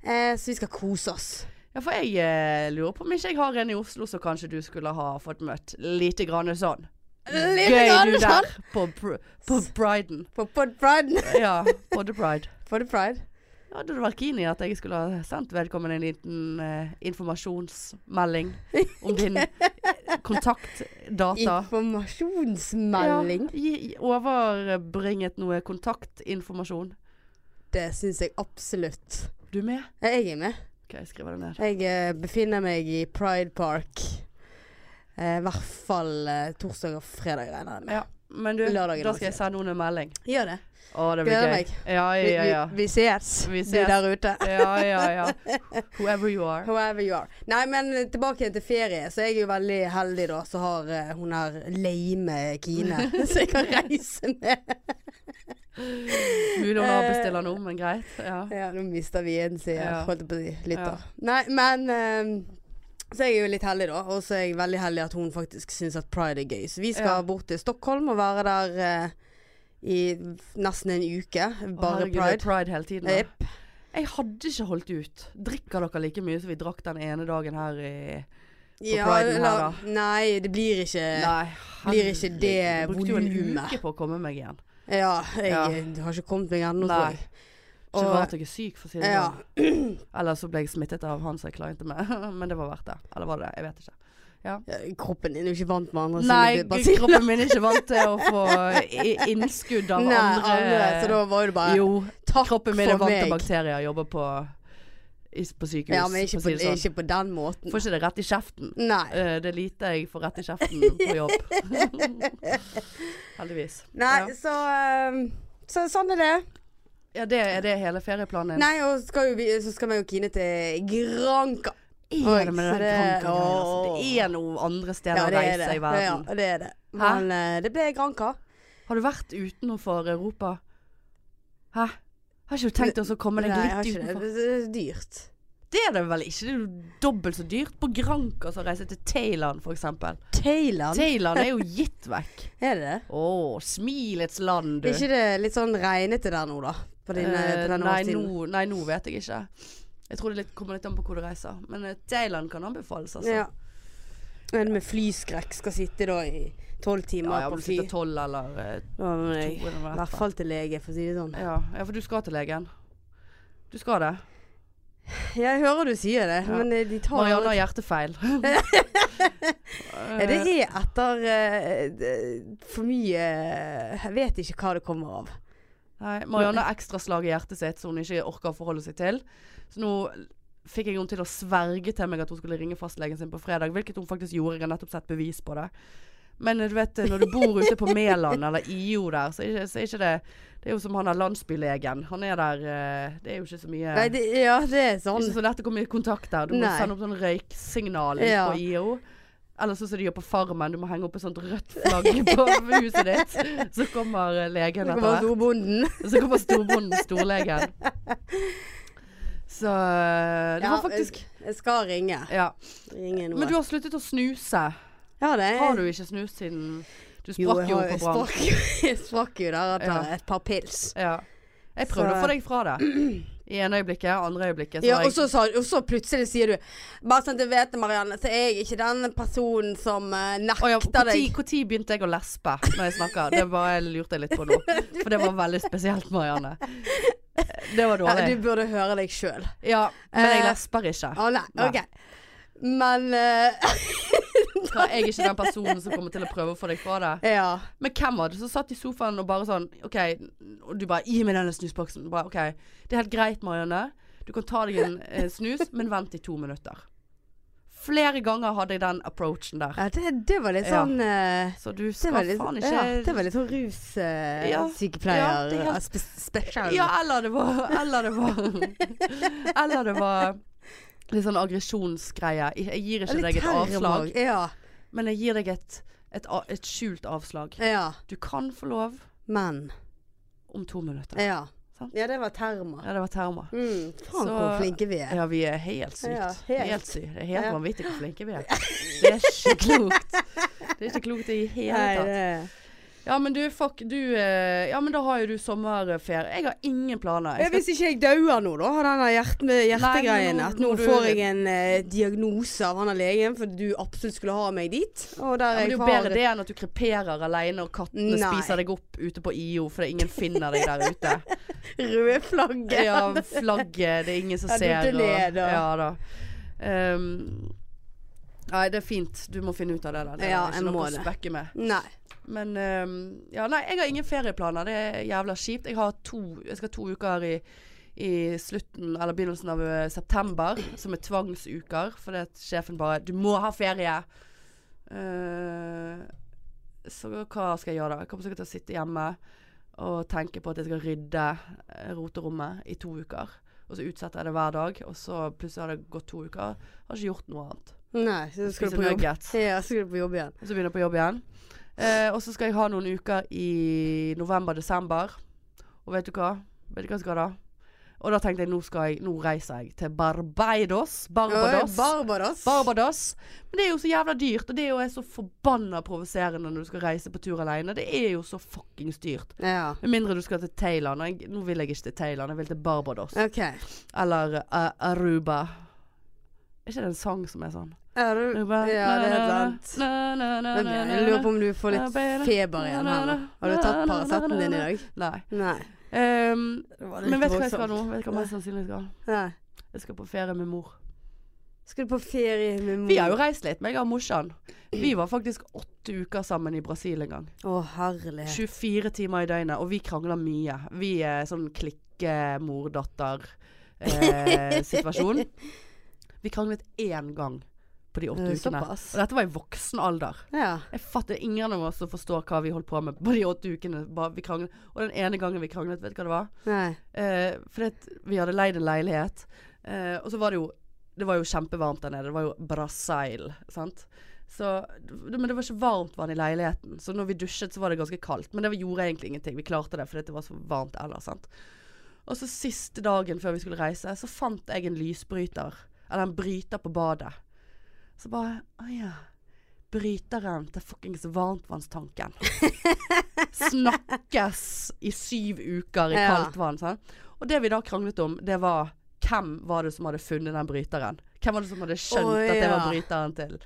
Eh, så vi skal kose oss.
Ja, for jeg eh, lurer på om ikke jeg har en i Oslo som kanskje du skulle ha fått møtt. Lite grann sånn.
Lite
du
grann sånn.
der på, br på Bryden.
På Pod Pride.
Ja, på The Bride.
For the pride.
Ja, det hadde vært keen i at jeg skulle ha sendt vedkommende en liten eh, informasjonsmelding om din kontaktdata.
Informasjonsmelding.
Ja, gi, gi- overbringet noe kontaktinformasjon.
Det syns jeg absolutt.
Du med?
Ja, Jeg er med.
Ok, jeg skriver det ned.
Jeg eh, befinner meg i Pride Park. Eh, I hvert fall eh, torsdag og fredag, regner jeg med.
Ja, men du,
Lørdagen
da
også.
skal jeg sende henne en melding.
Gjør det.
Å, det blir
Gleder
gøy.
meg.
Ja,
Vi,
ja, ja.
vi, vi ses,
Vi
du
ses.
der ute.
Ja, ja, ja. Whoever you are.
However you are. Nei, men tilbake igjen til ferie. Så jeg er jo veldig heldig, da, så har eh, hun her lame Kine som jeg kan reise med.
Mulig hun avbestiller noe, men greit. Ja.
Ja, nå mister vi en side,
Ja.
holdt jeg på å si.
Ja.
Lytter. Nei, men eh, Så jeg er jo litt heldig, da. Og så er jeg veldig heldig at hun faktisk syns at pride er gøy. Så vi skal
Ja.
bort til Stockholm og være der eh, i nesten en uke.
Å,
Bare
herregud, det er
pride.
pride hele tiden. da.
Jepp.
Jeg hadde ikke holdt ut. Drikker dere like mye som vi drakk den ene dagen her i priden her, da.
Nei, det blir ikke
Nei,
Eh, blir ikke det
herregud. Jeg Brukte jo en
volumet.
uke på å komme meg igjen.
Ja, jeg
Ja.
eh, har ikke kommet meg ennå,
Nei.
tror jeg.
Ikke
Og-
rart jeg er syk, for å si det
Ja.
sånn. Eller så ble jeg smittet av han som jeg klinte med. Men det var verdt det. Eller var det det? Jeg vet ikke.
Ja, Kroppen din er jo ikke vant med andre
Nei,
sine
g-
basiller.
kroppen min er ikke vant til å få i- innskudd av
Nei,
andre,
andre, Så da var det bare
Jo,
takk
kroppen min er
for
vant til
meg.
bakterier. Jobber på, i, på sykehus.
Ja, men ikke
for å
på,
si det sånn.
ikke på den måten.
Får ikke det rett i kjeften.
Nei.
Eh, det er lite jeg får rett i kjeften på jobb. Heldigvis.
Nei,
Ja.
så ehm, så sånn er det.
ja, det er det hele ferieplanen din.
Nei, og skal jo vi, så skal vi jo Kine til Granka.
Er det, med den
så det-
Granca-greia, altså?
Åh.
det er noe andre steder
Ja,
å
det er
reise
det.
i verden.
Ja, det er det.
Hæ?
Men eh, det ble Granka.
Har du vært utenfor Europa? Hæ? Har ikke du tenkt også å komme deg
Nei, jeg har
litt
ikke det.
utenfor?
Det det er dyrt.
Det er det vel ikke? Det er jo dobbelt så dyrt på Granca som å reise til Thailand, for eksempel.
Thailand,
Thailand er jo gitt vekk.
er det det?
Å, smilets land, du.
Er ikke det litt sånn regnete der nå, da? På, din, eh,
Eh,
på denne
nei,
årstiden?
nå- nei, nå vet jeg ikke. Jeg tror det litt, kommer litt an på hvor du reiser. Men eh, Thailand kan anbefales, altså.
Ja. En med flyskrekk skal sitte da i tolv timer
ja, ja,
på
om du
fly.
sitter tolv eller eh,
Ja, men
to
jeg-
eller
I
noe
hvert fall til lege, for å si det sånn.
Ja. ja, for du skal til legen. Du skal det.
Jeg hører du sier det,
Ja.
men eh, de tar
Marianne har hjertefeil.
ja, Det er etter eh, det- for mye eh, Jeg vet ikke hva det kommer av.
Nei, Marianne har ekstra slag i hjertet sitt som hun ikke orker å forholde seg til. Så nå fikk jeg henne til å sverge til meg at hun skulle ringe fastlegen sin på fredag, hvilket hun faktisk gjorde. Jeg har nettopp sett bevis på det. Men eh, du vet, når du bor ute på Mæland eller IO der, så er ikke, så er ikke det Det er jo som han er landsbylegen. Han er der eh, Det er jo ikke så mye
Nei, det, ja, det er
Det er
sånn.
Ikke så lett å komme i kontakt der. Du må
Nei.
sende opp sånn røyksignal ut
Ja.
på IO. Eller sånn som de gjør på Farmen, du må henge opp et sånt rødt flagg på huset ditt. Så kommer eh, legen
Det
etter
kommer
hvert.
storbonden.
Så kommer storbonden, storlegen. Så eh, det
Ja,
var faktisk
Jeg, jeg skal ringe.
Ja.
Ringe noe.
Men du har sluttet å snuse.
ja, det,
Har du ikke snust siden du
Jo,
sprakk
jeg
jo, på
har- jeg
Brann?
sprakk, jeg sprakk jo der etter
Ja.
et par pils.
Ja. Jeg prøvde
Så-
å få deg fra det. I ene øyeblikket, andre øyeblikket.
Ja,
var
og så, sa, og så plutselig sier du Bare sånn at du vet det, Marianne, så er jeg ikke den personen som eh, nekter
Å ja,
deg.
Når begynte jeg å lespe når jeg snakker? Det bare jeg lurte jeg litt på nå. For det var veldig spesielt, Marianne. Det var
Ja,
dårlig.
du burde høre deg sjøl.
Ja, men jeg
Eh,
lesper ikke.
Å nei,
Nei.
OK. Men eh,
Hva, Jeg er ikke den personen som kommer til å prøve å få deg fra det.
Ja.
Men hvem var det som satt i sofaen og bare sånn OK, og du bare 'Gi meg denne snusboksen'. Bare, OK, det er helt greit, Marianne. Du Du kan ta deg en eh, snus, men vent i to minutter. Flere ganger hadde jeg den approachen der.
Ja, det, det var litt
Ja.
sånn eh,
Så du
det, var
skal
litt,
faen
ja, det
ikke
var litt sånn
Ja. Ja,
russykepleier
det er helt-
special.
Ja, eller det var Eller det var Eller det var litt sånn aggresjonsgreie. Jeg jeg gir ikke
Litt
deg et
terror
avslag,
også. Ja,
men jeg gir deg et, et, a- et skjult avslag.
ja.
Du kan få lov
Men.
om to minutter.
Ja.
Sant?
ja, det var termer.
Ja, det var terma.
Mm, faen
Så-
hvor flinke vi er.
Ja, vi er helt sykt.
Ja, helt.
helt. sykt. Det er helt
Ja.
vanvittig hvor flinke vi er. Det er ikke klokt. Det er ikke klokt i hele
Nei,
tatt.
det-
Ja, men du, fuck, du eh, Ja, men da har jo du sommerferie. Jeg har ingen planer.
Ja,
Jeg
Hvis ikke jeg dauer nå, da, av den der hjerte, med
Nei,
hjertegreien.
nå-
At nå
nå du-
får jeg en eh, diagnose av han der legen fordi du absolutt skulle ha meg dit. Og der
Ja, men det
jeg
er jo
har
bedre det enn at du kreperer aleine og kattene
Nei.
spiser deg opp ute på IO fordi ingen finner deg der ute.
røde flagget.
Ja, flagget, det er ingen som
Ja, du
ser.
er ned, og-
ja da. Ehm, nei, det er fint. Du må finne ut av det der. Det
Ja,
er
jeg
ikke noe
må
å
det.
spekke med.
Nei.
Men ehm, ja, nei, jeg har ingen ferieplaner. Det er jævla kjipt. Jeg har to Jeg skal ha to uker i i slutten eller begynnelsen av eh, september, som er tvangsuker. Fordi at sjefen bare 'Du må ha ferie!' Eh, så hva skal jeg gjøre da? Jeg kommer sikkert til å sitte hjemme og tenke på at jeg skal rydde eh, roterommet i to uker. Og så utsetter jeg det hver dag, og så plutselig har det gått to uker. Har ikke gjort noe annet.
Nei, så skal du
Spiser
på jobb.
nuggets.
Ja, så skal du på jobb igjen.
Og så begynner jeg på jobb igjen. Eh, og så skal jeg ha noen uker i november-desember. Og vet du hva? Vet du hva jeg skal da? Og da tenkte jeg nå, skal jeg, nå reiser jeg til Barbados. Barbados.
Oi, Barbados.
Barbados. Men det er jo så jævla dyrt, og det er jo er så forbanna provoserende når du skal reise på tur alene. Det er jo så fuckings dyrt.
Ja.
Med mindre du skal til Thailand. Og jeg, nå vil jeg ikke til Thailand, jeg vil til Barbados.
OK.
Eller eh, Aruba. Er ikke det en sang som er sånn?
Er du
Aruba.
Ja, det er helt sant. Men jeg lurer på om du får litt feber igjen her nå. Har du tatt Paraceten din i dag?
Nei.
Nei.
Ehm, men vet du hva jeg skal nå? Vet du hva
Nei.
mest sannsynlig jeg skal?
Nei.
Jeg skal på ferie med mor.
Skal du på ferie med mor?
Vi har jo reist litt, meg og morsan. Vi var faktisk åtte uker sammen i Brasil en gang.
Å, herlighet.
24 timer i døgnet, og vi krangler mye. Vi er sånn klikke-mor-datter-situasjon. eh, vi kranglet én gang på de åtte
Eh,
ukene.
såpass.
Og dette var i voksen alder.
Ja.
Jeg fatter ingen av oss som forstår hva vi holdt på med på de åtte ukene. Bare, vi kranglet. Og den ene gangen vi kranglet, vet du hva det var?
Nei.
Eh, fordi at vi hadde leid en leilighet, eh, og så var det jo Det var jo kjempevarmt der nede. Det var jo Brasil, sant. Så, det, men det var ikke varmt vann i leiligheten, så når vi dusjet, så var det ganske kaldt. Men det gjorde egentlig ingenting. Vi klarte det fordi at det var så varmt ellers, sant. Og så siste dagen før vi skulle reise, så fant jeg en lysbryter. Eller en bryter på badet. Så bare Å ja. Bryteren til fuckings varmtvannstanken. Snakkes i syv uker i
Ja.
kaldt vann. Sant? Og det vi da kranglet om, det var hvem var det som hadde funnet den bryteren? Hvem var det som hadde skjønt
Å,
at det var
ja.
bryteren til?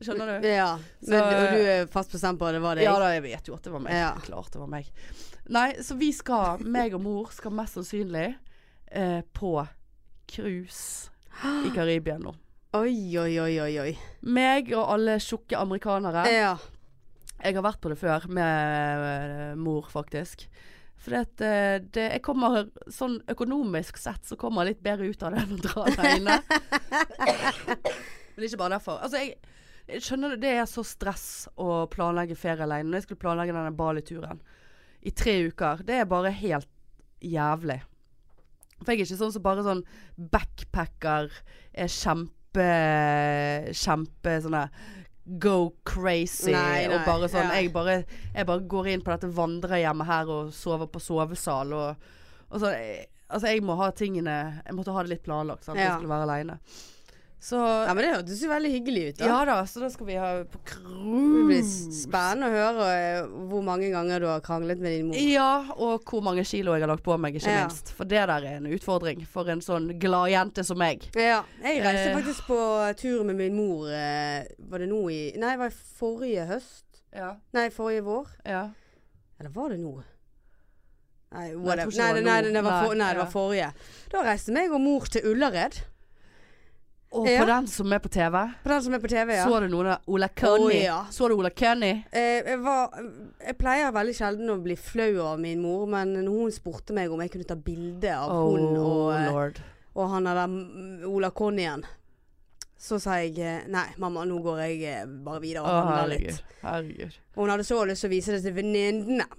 Skjønner du?
Ja. Men,
Så- eh,
og du er fast bestemt på at det var deg?
Ja da, jeg vet jo at det var meg.
Ja.
Klart det var meg. Nei, så vi skal, meg og mor, skal mest sannsynlig eh, på cruise i Karibia nå.
Oi, oi, oi, oi. oi.
Meg og alle tjukke amerikanere.
Ja.
Jeg har vært på det før, med eh, mor faktisk. For det, det, jeg kommer sånn økonomisk sett så kommer jeg litt bedre ut av det enn å dra alene. Men ikke bare derfor. Altså, jeg, jeg skjønner det, det er så stress å planlegge ferie alene. Når jeg skulle planlegge denne Bali-turen i tre uker, det er bare helt jævlig. For jeg er ikke sånn som bare sånn backpacker er kjempe, kjempe sånn der Go crazy
Nei, nei,
og bare sånn.
ja.
Jeg, bare, jeg bare går inn på dette vandrehjemmet her og sover på sovesal og, og så, jeg, Altså, jeg må ha tingene Jeg måtte ha det litt planlagt, sant.
Ja.
Jeg skulle være aleine. Så
ja. Men det hørtes jo veldig hyggelig ut. da.
ja da, så da skal vi ha på
Det blir
cruise.
spennende å høre eh, hvor mange ganger du har kranglet med din mor.
Ja, og hvor mange kilo jeg har lagt på meg, ikke
Ja.
minst. For det der er en utfordring for en sånn gladjente som meg.
Ja. Jeg reiste
Eh.
faktisk på tur med min mor eh, Var det nå i Nei, det var i forrige høst?
Ja.
Nei, forrige vår?
ja.
Eller var det nå? Nei,
Nei, jeg
whatever.
tror ikke
Nei,
det var
nei,
nå.
nei, det var, for,
Nei,
nei, det var
ja.
forrige. Da reiste meg og mor til Ullared.
Og
Ja.
på den som er på TV,
På den som er på TV, ja.
så du noen av Ola Kenny.
Å, ja.
Så du Ola Kenny?
Eh, jeg, var, jeg pleier veldig sjelden å bli flau av min mor, men når hun spurte meg om jeg kunne ta bilde av
Oh,
hun og, eh,
lord.
og han er der mm, Ola Connyen. Så sa jeg eh, nei, mamma, nå går jeg eh, bare videre
Å,
og handler litt.
herregud. herregud.
Og hun hadde så lyst til å vise det til venninnene.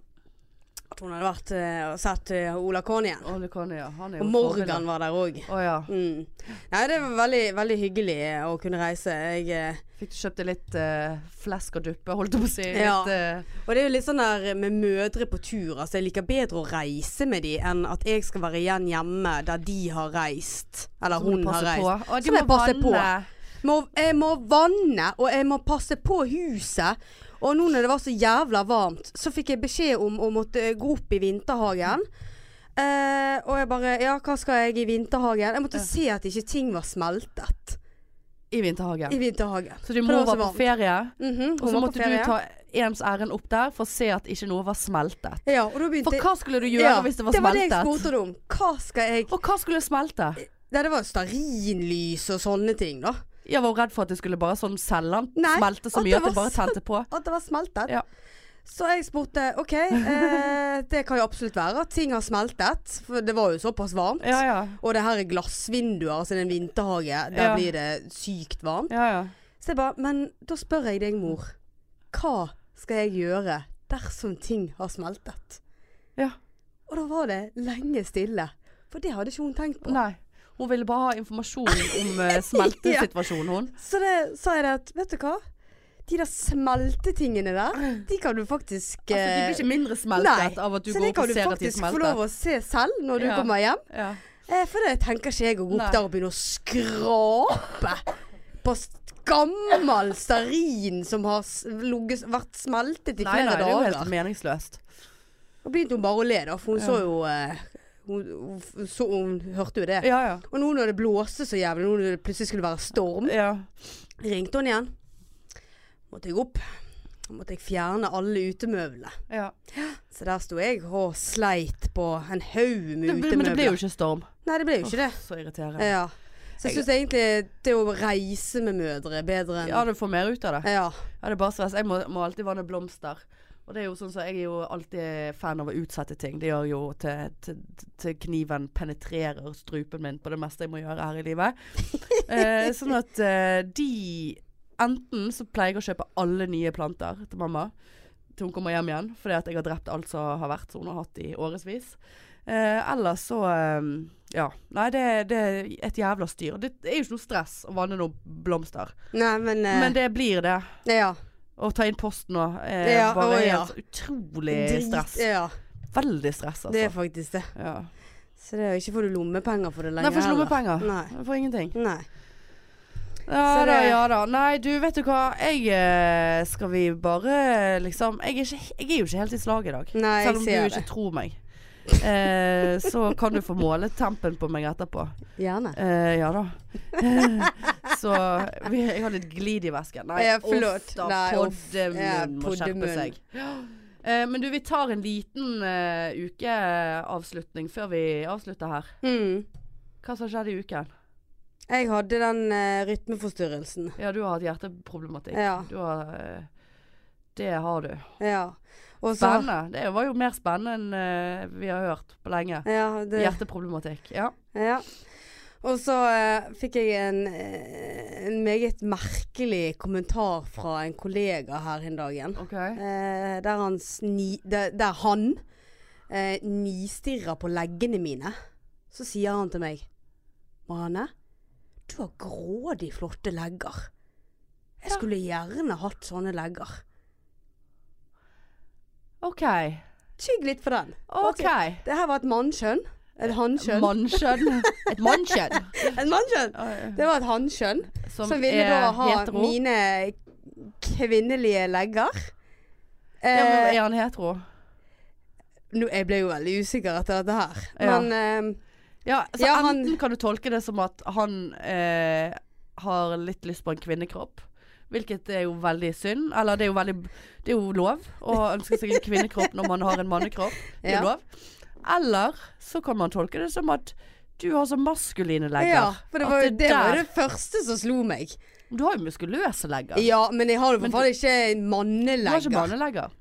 At hun hadde vært eh, og sett eh, Ola Connyen.
Å, det kan jeg, ja. Han er jo
Og Morgan var der òg.
forbilde. Å ja.
Mm. Nei, det var veldig, veldig hyggelig eh, å kunne reise. Jeg eh,
Fikk du kjøpt deg litt eh, flesk og duppe, holdt jeg på å si.
Ja.
Litt, eh,
Og det er jo litt sånn der med mødre på tur. Altså, jeg liker bedre å reise med de enn at jeg skal være igjen hjemme der de har reist. Eller
som du
hun har
passer
reist.
på. Å,
Så
de
må
må
jeg passe på.
vanne.
Må, jeg må vanne, og jeg må passe på huset. Og nå når det var så jævla varmt, så fikk jeg beskjed om å måtte gå opp i vinterhagen. Eh, og jeg bare Ja, hva skal jeg i vinterhagen? Jeg måtte
Ja.
se at ikke ting var smeltet
I vinterhagen.
i vinterhagen.
Så din
For det
mor
var så
var på
varmt.
ferie,
Mhm,
og
hun
så
var på
måtte du
ferie.
ta ens ærend opp der for å se at ikke noe var smeltet.
Ja, og da begynte
For hva skulle du gjøre
Ja,
hvis det var
Det var det jeg
smeltet?
spurte om. Hva skal jeg
og hva skulle smelte?
Nei, det var jo stearinlys og sånne ting, da.
Jeg var redd for at det skulle bare sånn cellen
Nei,
smelte så mye
at det
at det
var
bare tente på.
At det var smeltet.
Ja.
Så jeg spurte OK, eh, det kan jo absolutt være at ting har smeltet. For det var jo såpass varmt.
Ja, ja.
Og det her er glassvinduer, altså det er en vinterhage. Der
Ja.
blir det sykt varmt.
ja, ja.
Så jeg bare Men da spør jeg deg, mor. Hva skal jeg gjøre dersom ting har smeltet?
Ja.
Og da var det lenge stille. For det hadde ikke hun tenkt på.
Nei. Hun ville bare ha informasjon om eh, smeltesituasjonen, hun.
Så det sa jeg det at, vet du hva? De der smeltetingene der, de kan du faktisk
Mm. Altså, de blir ikke mindre smeltet
Nei,
av at du
Så
går
det
opp
kan
og
du
ser at de
faktisk få lov
smelter.
å se selv når du
Ja.
kommer hjem.
Ja.
Eh, for det tenker ikke jeg å gå
Nei.
opp der og begynne å skrape på s- gammel stearin som har s- ligget- vært smeltet i
Nei, nei,
flere
det er jo helt
dager.
meningsløst.
Og begynte hun bare å le, da, for hun
Ja.
så jo eh, hun, hun, f- så, hun hørte jo det.
Ja, ja.
Og nå når det blåste så jævlig, nå når det plutselig skulle være storm,
ja.
ringte hun igjen. Måtte jeg opp. Måtte jeg fjerne alle utemøblene.
ja.
Så der sto jeg og sleit på en haug
Det,
med
ble- men det ble jo
utemøbler.
ikke storm.
Nei, det ble jo ikke det.
Så irriterende.
Ja. Så jeg syns egentlig det å reise med mødre er bedre enn
Ja, du får mer ut av det.
Ja.
Ja, det er bare stress. Jeg må, må alltid vanne blomster. Og det er jo sånn så jeg er jo alltid fan av å utsette ting. Det gjør jo til, til, til kniven penetrerer strupen min på det meste jeg må gjøre her i livet. Eh, sånn at eh, de Enten så pleier jeg å kjøpe alle nye planter til mamma til hun kommer hjem igjen, fordi at jeg har drept alt som har vært som hun har hatt i årevis. Eh, ellers så eh, Ja. Nei, det, det er et jævla styr. Det er jo ikke noe stress å vanne noen blomster.
Nei, men, eh,
Men det blir det.
Ja.
Å ta inn posten nå er
Ja,
bare
å, ja.
helt utrolig stress.
Ja,
Veldig stress,
det
altså.
er faktisk det.
ja.
Så det er jo ikke får du lommepenger for det lenger.
Nei, får ikke
heller.
lommepenger.
Nei.
Jeg Får ingenting.
Nei.
Ja
Så
da,
det-
ja da. Nei, du, vet du hva. Jeg eh, Skal vi bare liksom Jeg er, ikke, jeg er jo ikke helt i slag i dag.
Nei, jeg
Selv om du
ser
ikke tror meg. Eh, så kan du få måle tempen på meg etterpå.
Gjerne.
Eh, ja da. så vi, jeg har litt glid i vesken. Nei,
Ja, forlåt.
uff da.
Nei, uff.
Poddemunn
Ja,
må skjerpe
poddemunn.
seg. Eh, men du, vi tar en liten eh, ukeavslutning før vi avslutter her.
Mm.
Hva som skjedde i uken?
Jeg hadde den eh, rytmeforstyrrelsen.
Ja, du har hatt hjerteproblematikk.
Ja.
Du har, eh, det har du.
Ja. Og så
Spennende. Det var jo mer spennende enn eh, vi har hørt på lenge.
Ja. Det,
Hjerteproblematikk. Ja.
ja. Og så eh, fikk jeg en, eh, en meget merkelig kommentar fra en kollega her en dag igjen.
OK.
Eh, der, han sni, der, der han eh, nistirrer på leggene mine. Så sier han til meg Marianne, du har grådig flotte legger. Jeg
Ja.
skulle gjerne hatt sånne legger.
OK.
Tygg litt på den.
OK.
Det her var et mannskjønn. Et hannkjønn.
Mannskjønn. Et mannskjønn.
Et mannskjønn!
Oi.
Det var et hannkjønn
Som,
som, ville
er
da ha
hetero.
mine kvinnelige legger.
ja, men
Eh,
Er han hetero?
nå, jeg ble jo veldig usikker etter dette her,
Ja.
men eh,
Ja, så
Ja, han-
enten kan du tolke det som at han eh, har litt lyst på en kvinnekropp. Hvilket er jo veldig synd. Eller det er jo veldig Det er jo lov å ønske seg en kvinnekropp når man har en mannekropp. Det er
Ja.
lov. Eller så kan man tolke det som at du har så maskuline legger.
Ja, for det
At
var, jo-
er
det var jo
der-
det første som slo meg.
Du har jo muskuløse legger.
Ja, men jeg har jo
Men
for faen ikke
Du har ikke
mannelegger.
mannelegger.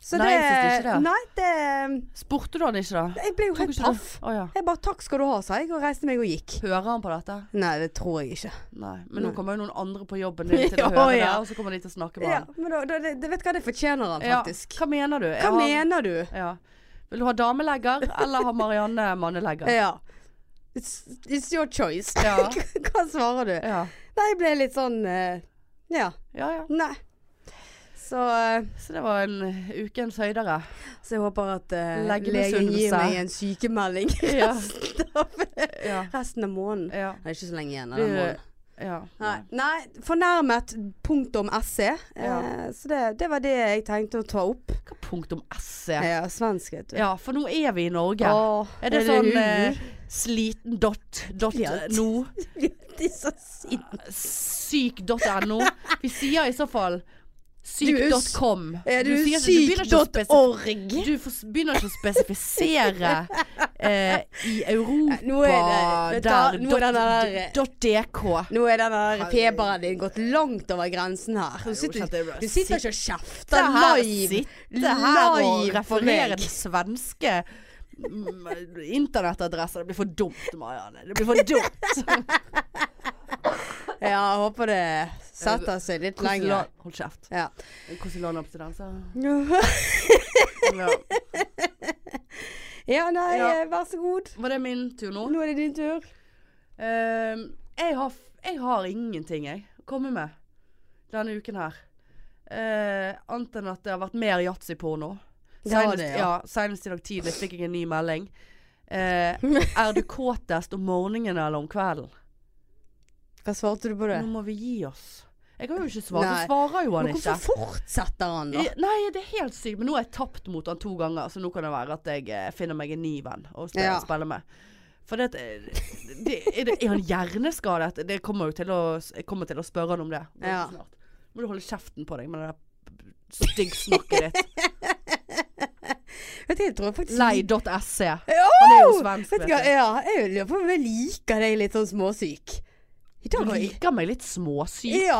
Så
Nei,
det,
jeg synes ikke det.
Nei, det ehm,
Spurte du han ikke, da?
Jeg ble jo
Tok
helt
ikke
paff.
det? Å ja.
Jeg bare 'takk skal du ha', sa jeg, og reiste meg og gikk.
Hører han på dette?
Nei, det tror jeg ikke.
Nei. Men nå
Nei.
kommer jo noen andre på jobben din til
Ja,
å høre det,
ja.
og så kommer de til å snakke med
Ja,
han.
men da, da, det, det vet hva det fortjener han
Ja,
faktisk.
Hva mener du? Er
Hva
han-
mener du?
Ja. Vil du ha damelegger, eller ha Marianne mannelegger?
Ja. It's, it's your choice.
Ja.
hva svarer du?
Ja.
Nei, jeg ble litt sånn eh, Ja.
ja, ja.
Nei. Så, eh,
Så det var en ukens høydere.
så jeg håper at eh, legen
Legemisunnelse.
gir meg en sykemelding
Ja.
resten av,
Ja.
resten av måneden.
ja.
Det er ikke så lenge igjen av den
Blir,
måneden.
ja.
Nei, nei fornærmet punktum se. Eh,
Ja.
så det, det var det jeg tenkte å ta opp.
Hva punktum S
Ja,
er?
svensk, vet du.
Ja, for nå er vi i Norge.
Åh,
Er det sånn eh, sliten dot dot
Ja.
no?
De er så sinte.
Syk dot no? Vi sier i så fall
Du er jo
syk.com. com.
Er du,
Du sier ikke- du begynner ikke å spesif-
syk.org?
Du fors- begynner ikke å spesifisere eh, i Europa
Nå er det- vet du hva?
der
Nå er
dot,
den der-
dot dk.
Nå er den der feberen din gått langt over grensen her. Du sitter, du sitter ikke og kjefter
sitte her,
live.
sitte her og
Live for
referere
meg.
til svenske mm, internettadresser. Det blir for dumt, Marianne. Det blir for dumt.
Ja, jeg håper det setter seg litt lenger.
Konsula- Hold kjeft.
Ja.
Konsulanabstinenser.
ja, nei,
Ja.
eh, vær så god.
Var det min tur nå?
Nå er det din tur.
Ehm, jeg, har, f- jeg har ingenting jeg å komme med denne uken her. Uh, annet enn at det har vært mer yatzyporno.
Det har
Senest-
det, ja.
ja, senest i dag tidlig fikk jeg en ny melding. Eh, er du kåtest om morgenen eller om kvelden?
Hva svarte du på det?
Nå må vi gi oss. Jeg kan jo ikke svare.
Nei.
Du svarer jo han
Men
ikke.
hvorfor fortsetter han, da?
I- Nei, det er helt sykt. Men nå har jeg tapt mot han to ganger, så nå kan det være at jeg eh, finner meg en ny venn å spille,
Ja.
spille med. For det, at, eh, det, er, det, er han hjerneskadet? Det kommer jo til å, jeg kommer til å spørre han om det. veldig
Ja.
snart. Må du holde kjeften på deg med det der styggsnakket ditt.
Vet du, jeg tror faktisk
Lei.se.
Ja,
E. Han er jo svensk, vet
Vet du hva,
du.
ja, jeg lurer på om jeg liker deg litt sånn småsyk. I
Du
dag var jeg
liker meg litt småsyk.
Ja.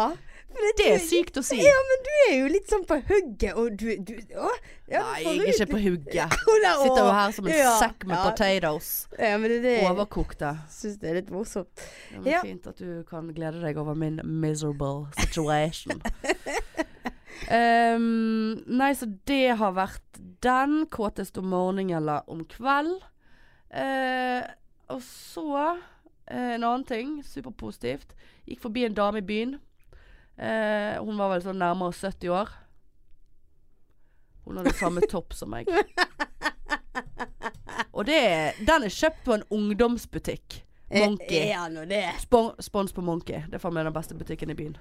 for
Det er sykt å si.
Ja, men du er jo litt sånn på hugget, og du, du å, ja,
Nei, jeg er ikke på hugget. Sitter
Sitter
jo her som en
Ja,
sekk med
ja.
potatoes.
Ja, men det er det jeg
Overkokte.
syns det er litt morsomt.
Ja, men
Ja.
Fint at du kan glede deg over min miserable situation. Ehm, nei, så det har vært den. Kåtest om morgenen eller om kveld. Eh, og så eh, en annen ting, superpositivt. Gikk forbi en dame i byen. Eh, hun var vel sånn nærmere 70 år. Hun hadde samme topp som meg. Og det, er- den er kjøpt på en ungdomsbutikk.
Eh,
Monkey.
Er han nå det?
Spon spons på Monkey. Det er faen meg den beste butikken i byen.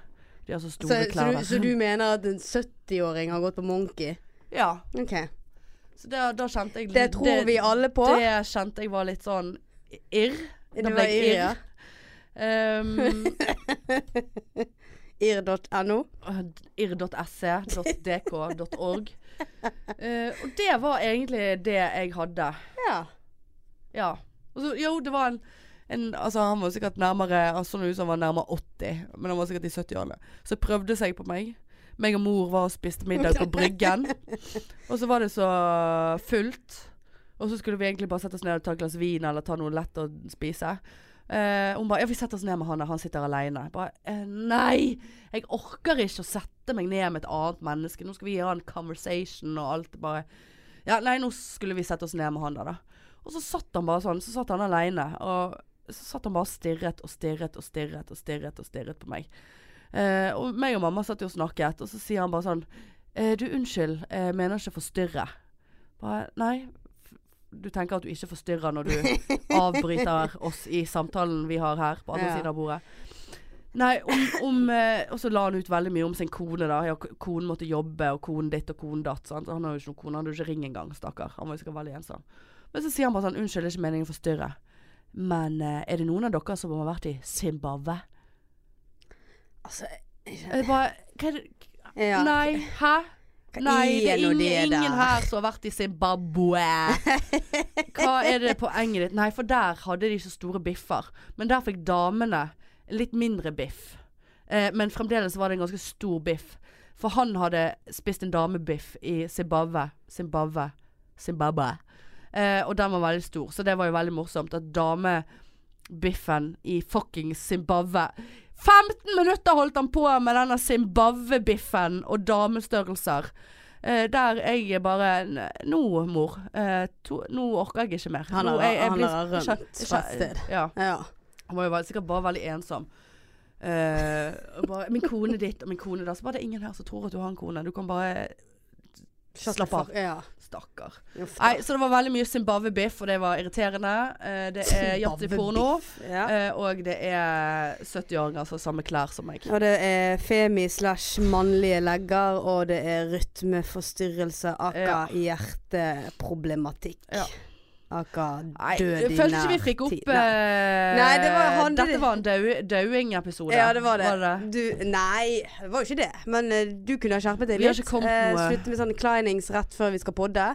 De har så
Så,
store
så,
klær
du,
der.
så du mener at en 70-åring har gått på Monkey?
Ja.
OK.
Så da, da kjente jeg
Det tror vi alle på.
Mm, Det kjente jeg var litt sånn irr.
Det,
Da ble
var
jeg
irr, ja.
Ehm,
Irr.no.
irr.se.dk.org. Eh, og det var egentlig det jeg hadde.
Ja.
Ja. Og så, jo, det var en, en Altså, han var sikkert nærmere Han så ut som han var nærmere 80, men han var sikkert i 70-årene. Så prøvde seg på meg. Meg og mor var og spiste middag på Bryggen. Og så var det så fullt. Og så skulle vi egentlig bare sette oss ned og ta et glass vin eller ta noe lett å spise. Eh, hun bare 'Ja, vi setter oss ned med han der. Han sitter aleine'. Jeg Bare eh, 'Nei! Jeg orker ikke å sette meg ned med et annet menneske. Nå skal vi ha en conversation og alt.' Bare ja, nei, nå skulle vi sette oss ned med han der, da. Og så satt han bare sånn, så satt han aleine. Og så satt han bare og stirret og stirret og stirret og stirret og stirret på meg. Eh, og meg og mamma satt jo og snakket, og så sier han bare sånn eh, Du, unnskyld, jeg mener ikke forstyrre. Bare nei. f- Du tenker at du ikke forstyrrer når du avbryter oss i samtalen vi har her på andre
Ja.
siden av bordet. Nei, om, om eh, Og så la han ut veldig mye om sin kone, da. Ja, k- konen måtte jobbe, og konen ditt og konen datt. Sant? Han har jo ikke noen kone, han hadde jo ikke ring engang, stakkar. Han var jo sikkert veldig ensom. Men så sier han bare sånn Unnskyld, det er ikke meningen å forstyrre. Men eh, er det noen av dere som har vært i Zimbabwe?
Altså jeg skjønner-
Jeg bare Hva er det
ja.
Nei, hæ?
Hva
Nei, det er
nå
ingen, ingen
der?
her som har vært i Zimbabwe. Hva er det poenget ditt? Nei, for der hadde de så store biffer. Men der fikk damene litt mindre biff. Eh, men fremdeles var det en ganske stor biff. For han hadde spist en damebiff i Zimbabwe. Zimbabwe. Zimbabwe. Eh, og den var veldig stor, så det var jo veldig morsomt at damebiffen i fucking Zimbabwe 15 minutter holdt han på med denne Zimbabwe-biffen og damestørrelser. Eh, der jeg bare "N- Nå, mor. Eh, to, nå orker jeg ikke mer.
Han
Nå,
har-
jeg, jeg
han
blir-
har
jeg kjen-
rømt fra et
jeg kjen-
sted."
Ja.
Ja.
Han var jo veldig, sikkert bare veldig ensom. Eh, og bare, min kone ditt og min kone der. Så bare det er ingen her som tror at du har en kone. Du kan bare Slapp av.
Ja.
Stakkar.
Uff da.
Nei, så det var veldig mye Zimbabwe-biff, og det var irriterende. Eh, det er yatzy-porno.
Babbebiff. Ja.
eh, og det er 70-åringer som har samme klær som meg.
Og det er femi slash mannlige legger, og det er rytmeforstyrrelse, aka hjerteproblematikk.
Ja.
Aka
Nei,
død i nær tid.
jeg følte ikke vi fikk opp
Nei.
eh,
Nei, det var han-
Dette var en dau- dauing-episode.
Ja, det var det. Du, nei, det var jo ikke det. Men eh, du kunne ha skjerpet deg
Vi har
litt. Eh,
ikke kommet noe.
Slutt med sånne kleinings rett før vi skal podde,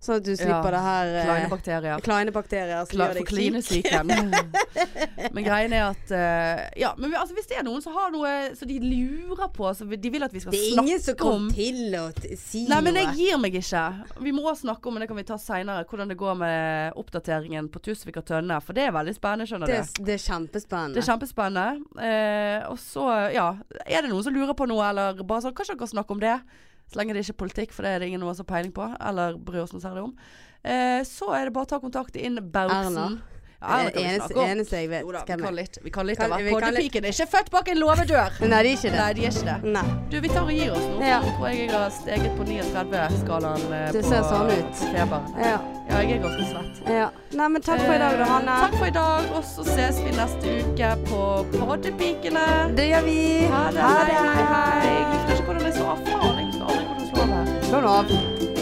sånn at du slipper det her eh,
Kleine bakterier.
kleine bakterier som
Klar
gjør
for
deg syk.
klinesyken. men greien er at eh, Ja, men vi, altså, hvis det er noen som har noe som de lurer på, som vi- de vil at vi skal
Det er ingen som
snakke om
kom til å t- si
Nei, men
noe.
jeg gir meg ikke. Vi må snakke om, men det kan vi ta seinere, hvordan det går med oppdateringen på Tusvik og Tønne. For det er veldig spennende, skjønner
det,
du.
er- det er kjempespennende.
Det er kjempespennende. Eh, og så, ja Er det noen som lurer på noe, eller bare sånn Kanskje dere kan snakke om det? Så lenge det ikke er politikk, for det er det ingen av oss har peiling på. Eller bryr oss noe særlig om. Eh, så er det bare å ta kontakt inn Bautsen.
Erna.
Ja, Erna
det
kan vi
er
snakke
eneste,
om.
eneste jeg vet.
Jo da, vi
hvem er.
kan litt, vi kan litt
Kan-
av hvert.
vi kan litt-
Poddepiken er ikke født bak en låvedør!
Nei, det er ikke det.
Nei, de er ikke det.
Nei.
Du, vi tar og gir oss nå.
Ja.
Nå tror jeg jeg har steget på 39-skalaen eh,
Det
på
ser sånn ut.
feberen.
Ja,
Ja, jeg er ganske svett. Eh,
ja. Nei, men takk for i dag, da, Hanne.
Takk for i dag, og så ses vi neste uke på Poddepikene.
Det gjør vi.
Ha det. Hei, hei. Jeg husker ikke hvordan jeg så av. Faen, jeg husker aldri hvordan jeg slår meg.
Slå den av.